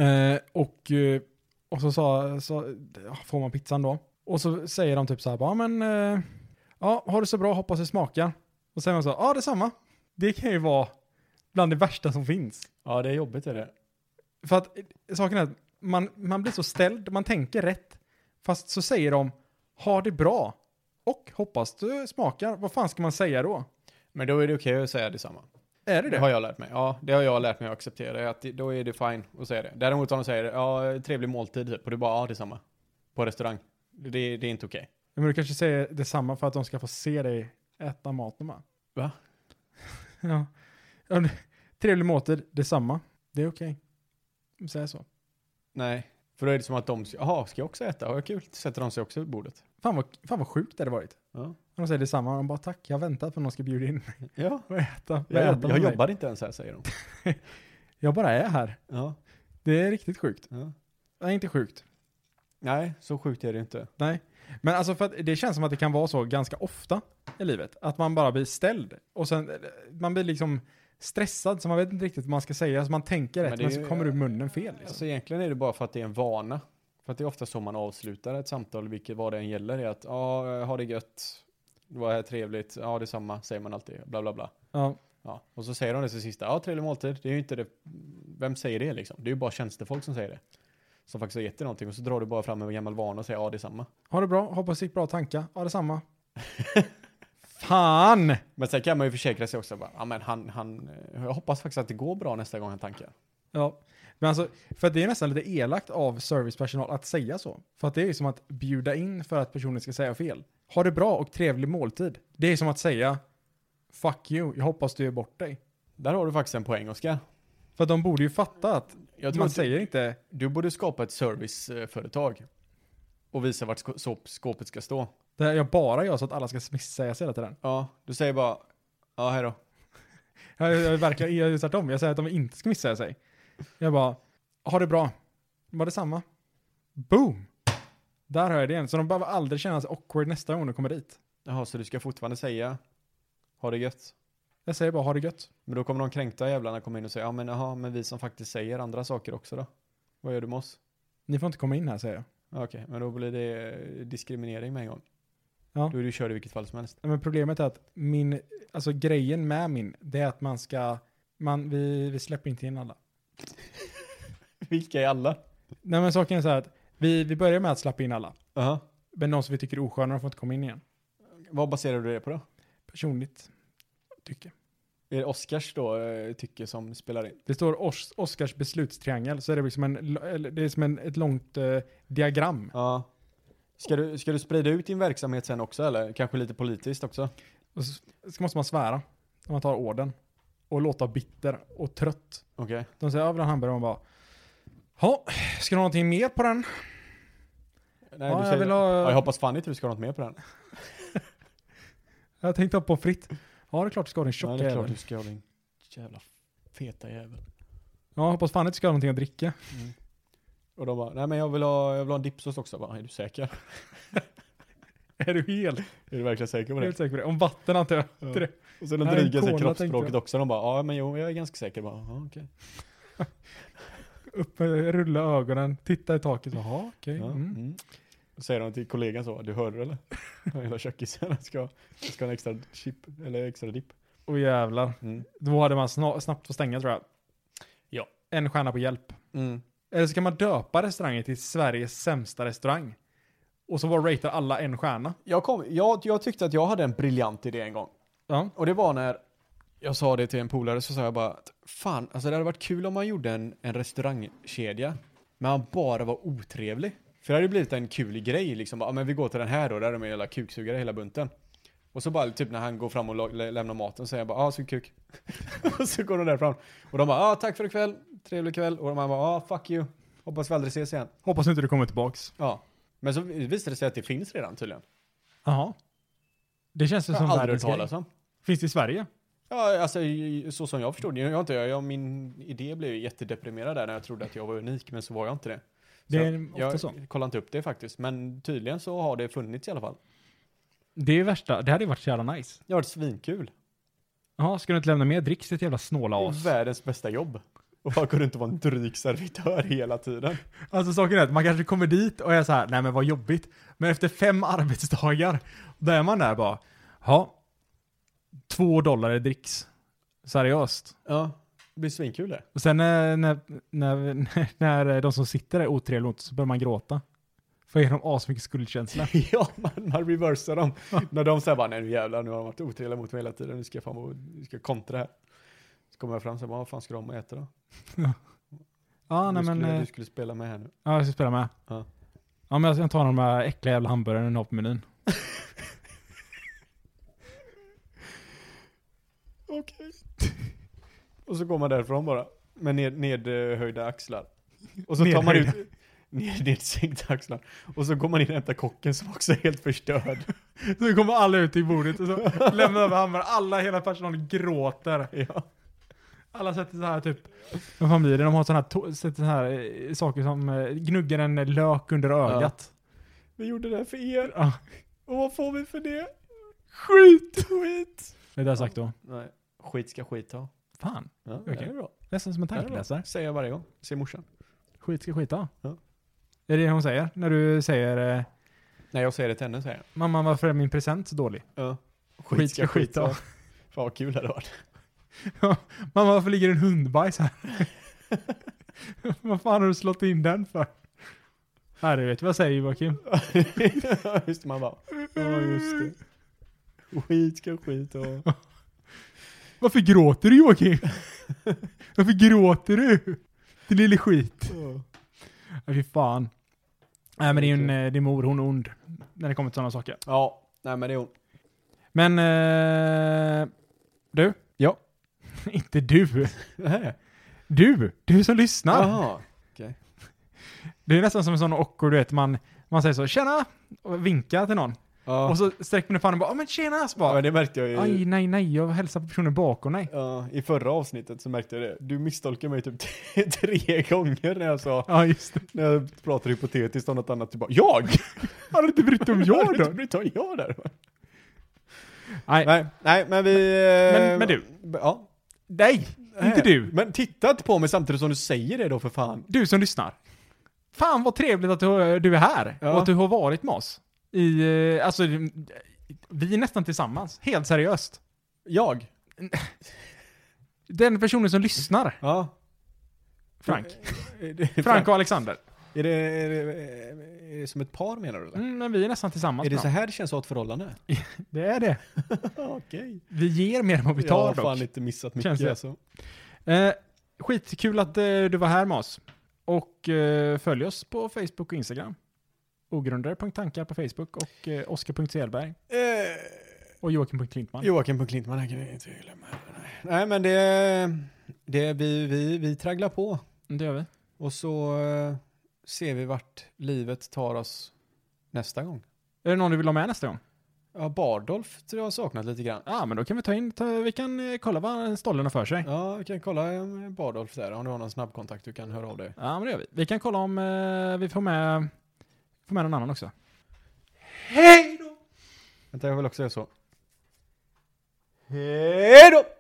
[SPEAKER 1] Eh, och, eh, och så, sa, så ja, får man pizzan då. Och så säger de typ så här, bara, "Ja, men eh, ja, har det så bra, hoppas det smakar. Och säger man så, ja detsamma. Det kan ju vara bland det värsta som finns.
[SPEAKER 3] Ja, det är jobbigt är det.
[SPEAKER 1] För att eh, saken är att man, man blir så ställd, man tänker rätt. Fast så säger de, ha det bra. Och hoppas du smakar. Vad fan ska man säga då?
[SPEAKER 3] Men då är det okej att säga detsamma.
[SPEAKER 1] Är det
[SPEAKER 3] Det
[SPEAKER 1] det?
[SPEAKER 3] har jag lärt mig. Ja, det har jag lärt mig att acceptera. Att det- då är det fine att säga det. Däremot om de säger ja, trevlig måltid typ, och du bara ja, detsamma. På restaurang. Det, det är inte okej.
[SPEAKER 1] Men du kanske säger detsamma för att de ska få se dig äta maten med.
[SPEAKER 3] Va?
[SPEAKER 1] ja. Ja, det- Trevlig måltid, detsamma. Det är okej. Säg så.
[SPEAKER 3] Nej, för då är det som att de, jaha, ska jag också äta? Vad kul. Sätter de sig också vid bordet.
[SPEAKER 1] Fan vad, fan vad sjukt det hade varit.
[SPEAKER 3] Ja,
[SPEAKER 1] Om De säger detsamma och de bara tack, jag har väntat på att någon ska bjuda in mig
[SPEAKER 3] ja
[SPEAKER 1] och äta. Vad
[SPEAKER 3] jag,
[SPEAKER 1] äter
[SPEAKER 3] jobb,
[SPEAKER 1] de med
[SPEAKER 3] jag
[SPEAKER 1] mig?
[SPEAKER 3] jobbar inte ens här säger de.
[SPEAKER 1] Jag bara är här.
[SPEAKER 3] Ja,
[SPEAKER 1] Det är riktigt sjukt.
[SPEAKER 3] ja.
[SPEAKER 1] Nej, inte sjukt.
[SPEAKER 3] Nej, så sjukt är det inte.
[SPEAKER 1] Nej. Men alltså för att det känns som att det kan vara så ganska ofta i livet. Att man bara blir ställd. Och sen, eh, man blir liksom stressad så man vet inte riktigt vad man ska säga. Så man tänker
[SPEAKER 3] Men
[SPEAKER 1] rätt
[SPEAKER 3] det är
[SPEAKER 1] men så
[SPEAKER 3] ju-
[SPEAKER 1] kommer det ur munnen fel. Liksom.
[SPEAKER 3] Alltså egentligen är det bara för att det är en vana. För att det är ofta så man avslutar ett samtal, vilket vad det än gäller, är att ja, ha det gött, det var här trevligt, ja detsamma, säger man alltid, bla bla bla.
[SPEAKER 1] ja.
[SPEAKER 3] Ja, och så säger de det till sista, ja trevlig måltid, det är ju inte det, vem säger det liksom? Det är ju bara tjänstefolk som säger det. Som faktiskt har gett dig någonting och så drar du bara fram en gammal vana och säger ja detsamma.
[SPEAKER 1] Ha det bra, hoppas det gick bra tankar. Ha detsamma. Fan!
[SPEAKER 3] Men sen kan man ju försäkra sig också, bara, ja men han, han, eh, jag hoppas faktiskt att det går bra nästa gång han tankar.
[SPEAKER 1] Ja. Men alltså, för att det är nästan lite elakt av servicepersonal att säga så. För att det är ju som att bjuda in för att personen ska säga fel. Ha det bra och trevlig måltid. Det är som att säga Fuck you, jag hoppas du är bort dig.
[SPEAKER 3] Där har du faktiskt en poäng Oskar.
[SPEAKER 1] För att de borde ju fatta att
[SPEAKER 3] Jag tror
[SPEAKER 1] man
[SPEAKER 3] att du,
[SPEAKER 1] säger inte
[SPEAKER 3] du borde skapa ett serviceföretag och visa vart sko- såp- skåpet ska stå.
[SPEAKER 1] det här jag bara gör så att alla ska smissägas hela tiden.
[SPEAKER 3] Ja, du säger bara, ja hejdå.
[SPEAKER 1] Jag, jag verkar, jag gör tvärtom. Jag säger att de inte ska missäga sig. Jag bara, ha det bra. Var detsamma. Boom! Där har jag det igen. Så de behöver aldrig känna sig awkward nästa gång de kommer dit.
[SPEAKER 3] Jaha, så du ska fortfarande säga, ha det gött.
[SPEAKER 1] Jag säger bara, ha det gött.
[SPEAKER 3] Men då kommer de kränkta jävlarna komma in och säga, ja men jaha, men vi som faktiskt säger andra saker också då? Vad gör du med oss?
[SPEAKER 1] Ni får inte komma in här, säger jag.
[SPEAKER 3] Ja, Okej, men då blir det eh, diskriminering med en gång.
[SPEAKER 1] Ja.
[SPEAKER 3] Då är du körd i vilket fall som helst.
[SPEAKER 1] Nej, Men problemet är att min, alltså grejen med min, det är att man ska, man, vi, vi släpper inte in alla.
[SPEAKER 3] Vilka är alla?
[SPEAKER 1] Nej men saken är så här att vi, vi börjar med att släppa in alla.
[SPEAKER 3] Jaha.
[SPEAKER 1] Men de som vi tycker är osköna, de får inte komma in igen.
[SPEAKER 3] Vad baserar du det på då?
[SPEAKER 1] Personligt tycker.
[SPEAKER 3] Är det Oscars då eh, tycke som spelar in?
[SPEAKER 1] Det står Os Oscars beslutstriangel, så är det liksom en, eller det är som en, ett långt eh, diagram.
[SPEAKER 3] Ja. Ska du, ska du sprida ut din verksamhet sen också eller? Kanske lite politiskt också?
[SPEAKER 1] Och så, så måste man svära när man tar orden. Och låta bitter och trött.
[SPEAKER 3] Okej.
[SPEAKER 1] De säger över en hamburgare och man bara Ja, ska du ha någonting mer på den?
[SPEAKER 3] Nej,
[SPEAKER 1] Ja,
[SPEAKER 3] du
[SPEAKER 1] jag
[SPEAKER 3] säger-
[SPEAKER 1] vill ha-
[SPEAKER 3] Ja, jag hoppas fan inte du ska ha något mer på den.
[SPEAKER 1] Jag tänkte ha pommes frites. Ja, det är klart du ska ha din
[SPEAKER 3] Nej,
[SPEAKER 1] tjocka
[SPEAKER 3] det är klart
[SPEAKER 1] jävel.
[SPEAKER 3] du ska ha din jävla feta jävel.
[SPEAKER 1] Ja, jag hoppas fan inte du ska ha någonting att dricka.
[SPEAKER 3] Och de bara, nej men jag vill ha, jag vill ha en dipsås också. Jag Bara, är du säker?
[SPEAKER 1] Är du helt,
[SPEAKER 3] Är du verkligen säker på det?
[SPEAKER 1] helt säker på det? Om vatten antar jag. inte det.
[SPEAKER 3] Och sen de
[SPEAKER 1] Nej,
[SPEAKER 3] dryga sig
[SPEAKER 1] cola,
[SPEAKER 3] kroppsspråket
[SPEAKER 1] tänkte
[SPEAKER 3] också. De bara, ja men jo, jag är ganska säker. Bara, ja, okej.
[SPEAKER 1] Upp med, rulla ögonen, titta i taket. Jaha, okej.
[SPEAKER 3] Ja,
[SPEAKER 1] Mm.
[SPEAKER 3] mm. Och säger de till kollegan så, du hörde det, eller? Den Hela kökisen han ska, han ska ha en extra chip, eller extra dipp.
[SPEAKER 1] Och jävlar.
[SPEAKER 3] Mm.
[SPEAKER 1] Då hade man sna- snabbt fått stänga tror jag.
[SPEAKER 3] Ja.
[SPEAKER 1] en stjärna på hjälp.
[SPEAKER 3] Mm.
[SPEAKER 1] Eller så kan man döpa restaurangen till Sveriges sämsta restaurang. Och så bara ratear alla en stjärna.
[SPEAKER 3] Jag, kom, jag, jag tyckte att jag hade en briljant idé en gång.
[SPEAKER 1] Ja.
[SPEAKER 3] Och det var när jag sa det till en polare så sa jag bara att fan, alltså det hade varit kul om man gjorde en, en restaurangkedja men han bara var otrevlig. För det hade blivit en kul grej liksom. Ja men vi går till den här då, där de är jävla kuksugare hela bunten. Och så bara typ när han går fram och la- lä- lämnar maten så säger jag bara ja, ah, sug kuk. och så går de därifrån. Och de bara ja, ah, tack för ikväll, trevlig kväll. Och de bara ja, ah, fuck you. Hoppas vi aldrig ses igen.
[SPEAKER 1] Hoppas inte du kommer tillbaks.
[SPEAKER 3] Ja. Men så visade det sig att det finns redan tydligen.
[SPEAKER 1] Jaha. Det känns ju
[SPEAKER 3] Jag
[SPEAKER 1] som
[SPEAKER 3] har aldrig hört
[SPEAKER 1] världens
[SPEAKER 3] talas
[SPEAKER 1] grej.
[SPEAKER 3] om.
[SPEAKER 1] Finns det i Sverige?
[SPEAKER 3] Ja, alltså i- så som jag förstod det. Jag, har inte, jag, jag, min idé blev ju jättedeprimerad där när jag trodde att jag var unik, men så var jag inte det.
[SPEAKER 1] Det
[SPEAKER 3] Så
[SPEAKER 1] är ofta
[SPEAKER 3] jag
[SPEAKER 1] så.
[SPEAKER 3] kollade inte upp det faktiskt, men tydligen så har det funnits i alla fall.
[SPEAKER 1] Det är värsta. Det hade ju varit så jävla nice.
[SPEAKER 3] Det har varit svinkul.
[SPEAKER 1] Jaha, ska du inte lämna med dricks till ett jävla snåla
[SPEAKER 3] Det är
[SPEAKER 1] as?
[SPEAKER 3] Världens bästa jobb. Och bara gå runt och vara en dryg servitör hela tiden.
[SPEAKER 1] Alltså saken är att man kanske kommer dit och är så här, nej men vad jobbigt. Men efter fem arbetsdagar, då är man där bara, ja, två dollar i dricks. Seriöst.
[SPEAKER 3] Ja, det blir svinkul det.
[SPEAKER 1] Och sen när, när, när, när eh, de som sitter där är otrevliga mot så börjar man gråta. För ger dem asmycket skuldkänsla.
[SPEAKER 3] ja, man, man reversar dem. när de säger bara, nej nu jävlar, nu har de varit otrevliga mot mig hela tiden, nu ska jag fan vara- nu ska jag kontra här. Så kommer jag fram och säger, vad fan ska de äta då?
[SPEAKER 1] Ja, nej
[SPEAKER 3] du,
[SPEAKER 1] men,
[SPEAKER 3] skulle,
[SPEAKER 1] eh,
[SPEAKER 3] du skulle spela med här nu.
[SPEAKER 1] ja, jag ska spela med.
[SPEAKER 3] Ja.
[SPEAKER 1] Ja, men jag ska ta de här äckliga jävla hamburgarna ni har på menyn.
[SPEAKER 3] Okej. Och så går man därifrån bara. Med ned, nedhöjda axlar. Och så tar man ut...
[SPEAKER 1] Nedhöjda.
[SPEAKER 3] Ned, nedsänkta axlar. Och så går man in och hämtar kocken som också är helt förstörd.
[SPEAKER 1] Så kommer alla ut i bordet och så lämnar över hamburgaren. Alla, hela personalen gråter.
[SPEAKER 3] ja.
[SPEAKER 1] Alla sätter så här typ, vad fan blir det? De har såna här, to- sätter så här eh, saker som eh, gnuggar en lök under ögat.
[SPEAKER 3] Vi gjorde det här för er.
[SPEAKER 1] Ja.
[SPEAKER 3] Och vad får vi för det? Skit! Skit!
[SPEAKER 1] Det där sagt då.
[SPEAKER 3] Nej. Skit ska skit ha.
[SPEAKER 1] Fan,
[SPEAKER 3] Ja,
[SPEAKER 1] Okej.
[SPEAKER 3] det är bra.
[SPEAKER 1] nästan som en
[SPEAKER 3] Det är bra.
[SPEAKER 1] tankeläsare.
[SPEAKER 3] Säger jag varje gång. Säger morsan.
[SPEAKER 1] Skit ska skita.
[SPEAKER 3] Ja.
[SPEAKER 1] Är det det hon säger? När du säger eh,
[SPEAKER 3] Nej, jag säger det till henne säger jag.
[SPEAKER 1] “Mamma, varför är min present så dålig?”
[SPEAKER 3] Ja. Skit,
[SPEAKER 1] Skit
[SPEAKER 3] ska
[SPEAKER 1] ska
[SPEAKER 3] skit
[SPEAKER 1] skit
[SPEAKER 3] ha.
[SPEAKER 1] ha.
[SPEAKER 3] Fan vad kul det hade varit.
[SPEAKER 1] “Mamma, varför ligger en hundbajs här?” Vad fan har du slått in den för? Nej, du vet vad jag säger Joakim.
[SPEAKER 3] just det, man bara. Ja, just det. Skit ska skit ha.
[SPEAKER 1] Varför gråter du Joakim? Varför gråter du? Din lille skit.
[SPEAKER 3] Ja.
[SPEAKER 1] Ja, fy fan. Nej men din, eh, din mor, hon är ond. När det kommer till sådana saker.
[SPEAKER 3] Ja, nej men det är hon.
[SPEAKER 1] Men... Eh, du?
[SPEAKER 3] Ja.
[SPEAKER 1] Inte du. Du! Du som lyssnar.
[SPEAKER 3] Jaha.
[SPEAKER 1] Det är nästan som en sån awkward, du vet, man, man säger så “tjena” och vinkar till någon.
[SPEAKER 3] Ja.
[SPEAKER 1] Och så sträcker man upp handen och bara “ja men tjena” så
[SPEAKER 3] ja,
[SPEAKER 1] bara,
[SPEAKER 3] men det märkte jag ju.
[SPEAKER 1] “aj nej nej, jag hälsar på personen bakom dig”.
[SPEAKER 3] Ja, I förra avsnittet så märkte jag det. Du misstolkade mig typ tre gånger när jag sa,
[SPEAKER 1] Ja just det.
[SPEAKER 3] när jag pratade hypotetiskt om något annat. Du bara, jag!
[SPEAKER 1] Har du inte brytt dig om jag
[SPEAKER 3] Har du
[SPEAKER 1] då?
[SPEAKER 3] inte brytt dig om jag där?
[SPEAKER 1] Nej.
[SPEAKER 3] Nej, nej men vi... eh,
[SPEAKER 1] Men- men du.
[SPEAKER 3] Ja.
[SPEAKER 1] Nej! Inte du.
[SPEAKER 3] Men titta inte på mig samtidigt som du säger det då för fan.
[SPEAKER 1] Du som lyssnar. Fan vad trevligt att du, du är här
[SPEAKER 3] Ja.
[SPEAKER 1] och att du har varit med oss. I, eh, alltså, vi är nästan tillsammans. Helt seriöst.
[SPEAKER 3] Jag?
[SPEAKER 1] Den personen som lyssnar,
[SPEAKER 3] Ja.
[SPEAKER 1] Frank.
[SPEAKER 3] Är det,
[SPEAKER 1] Frank och Alexander.
[SPEAKER 3] Är det, är, det, är det som ett par menar du? Eller?
[SPEAKER 1] Mm, men vi är nästan tillsammans.
[SPEAKER 3] Är det
[SPEAKER 1] med
[SPEAKER 3] så
[SPEAKER 1] dem.
[SPEAKER 3] här det känns att ha ett förhållande?
[SPEAKER 1] det är det.
[SPEAKER 3] Okej.
[SPEAKER 1] Vi ger mer än vad vi
[SPEAKER 3] jag
[SPEAKER 1] tar
[SPEAKER 3] har fan
[SPEAKER 1] dock.
[SPEAKER 3] inte missat mycket
[SPEAKER 1] Känns det.
[SPEAKER 3] alltså.
[SPEAKER 1] Eh, skitkul att eh, du var här med oss. Och eh, följ oss på Facebook och Instagram. Ogrundare.tankar på Facebook och eh, Oskar.Selberg
[SPEAKER 3] Eh,
[SPEAKER 1] och Joakim.Klintman.
[SPEAKER 3] Joakim på Klintman, här kan vi inte glömma. Nej, men det, det vi, vi, vi tragglar på
[SPEAKER 1] Det gör vi.
[SPEAKER 3] och så eh, ser vi vart livet tar oss nästa gång.
[SPEAKER 1] Är det någon du vill ha med nästa gång?
[SPEAKER 3] Ja, Bardolf tror jag har saknat lite grann.
[SPEAKER 1] Ja, men då kan vi ta in, ta, vi kan eh, kolla vad stollen har för sig. Ja.
[SPEAKER 3] Ja, vi kan kolla eh, Bardolf där om du har någon snabbkontakt du kan höra av dig.
[SPEAKER 1] men det gör vi. Vi kan kolla om eh, vi får med, får med någon annan också.
[SPEAKER 2] Hej då!
[SPEAKER 3] Vänta, jag vill också göra så.
[SPEAKER 2] Hej då!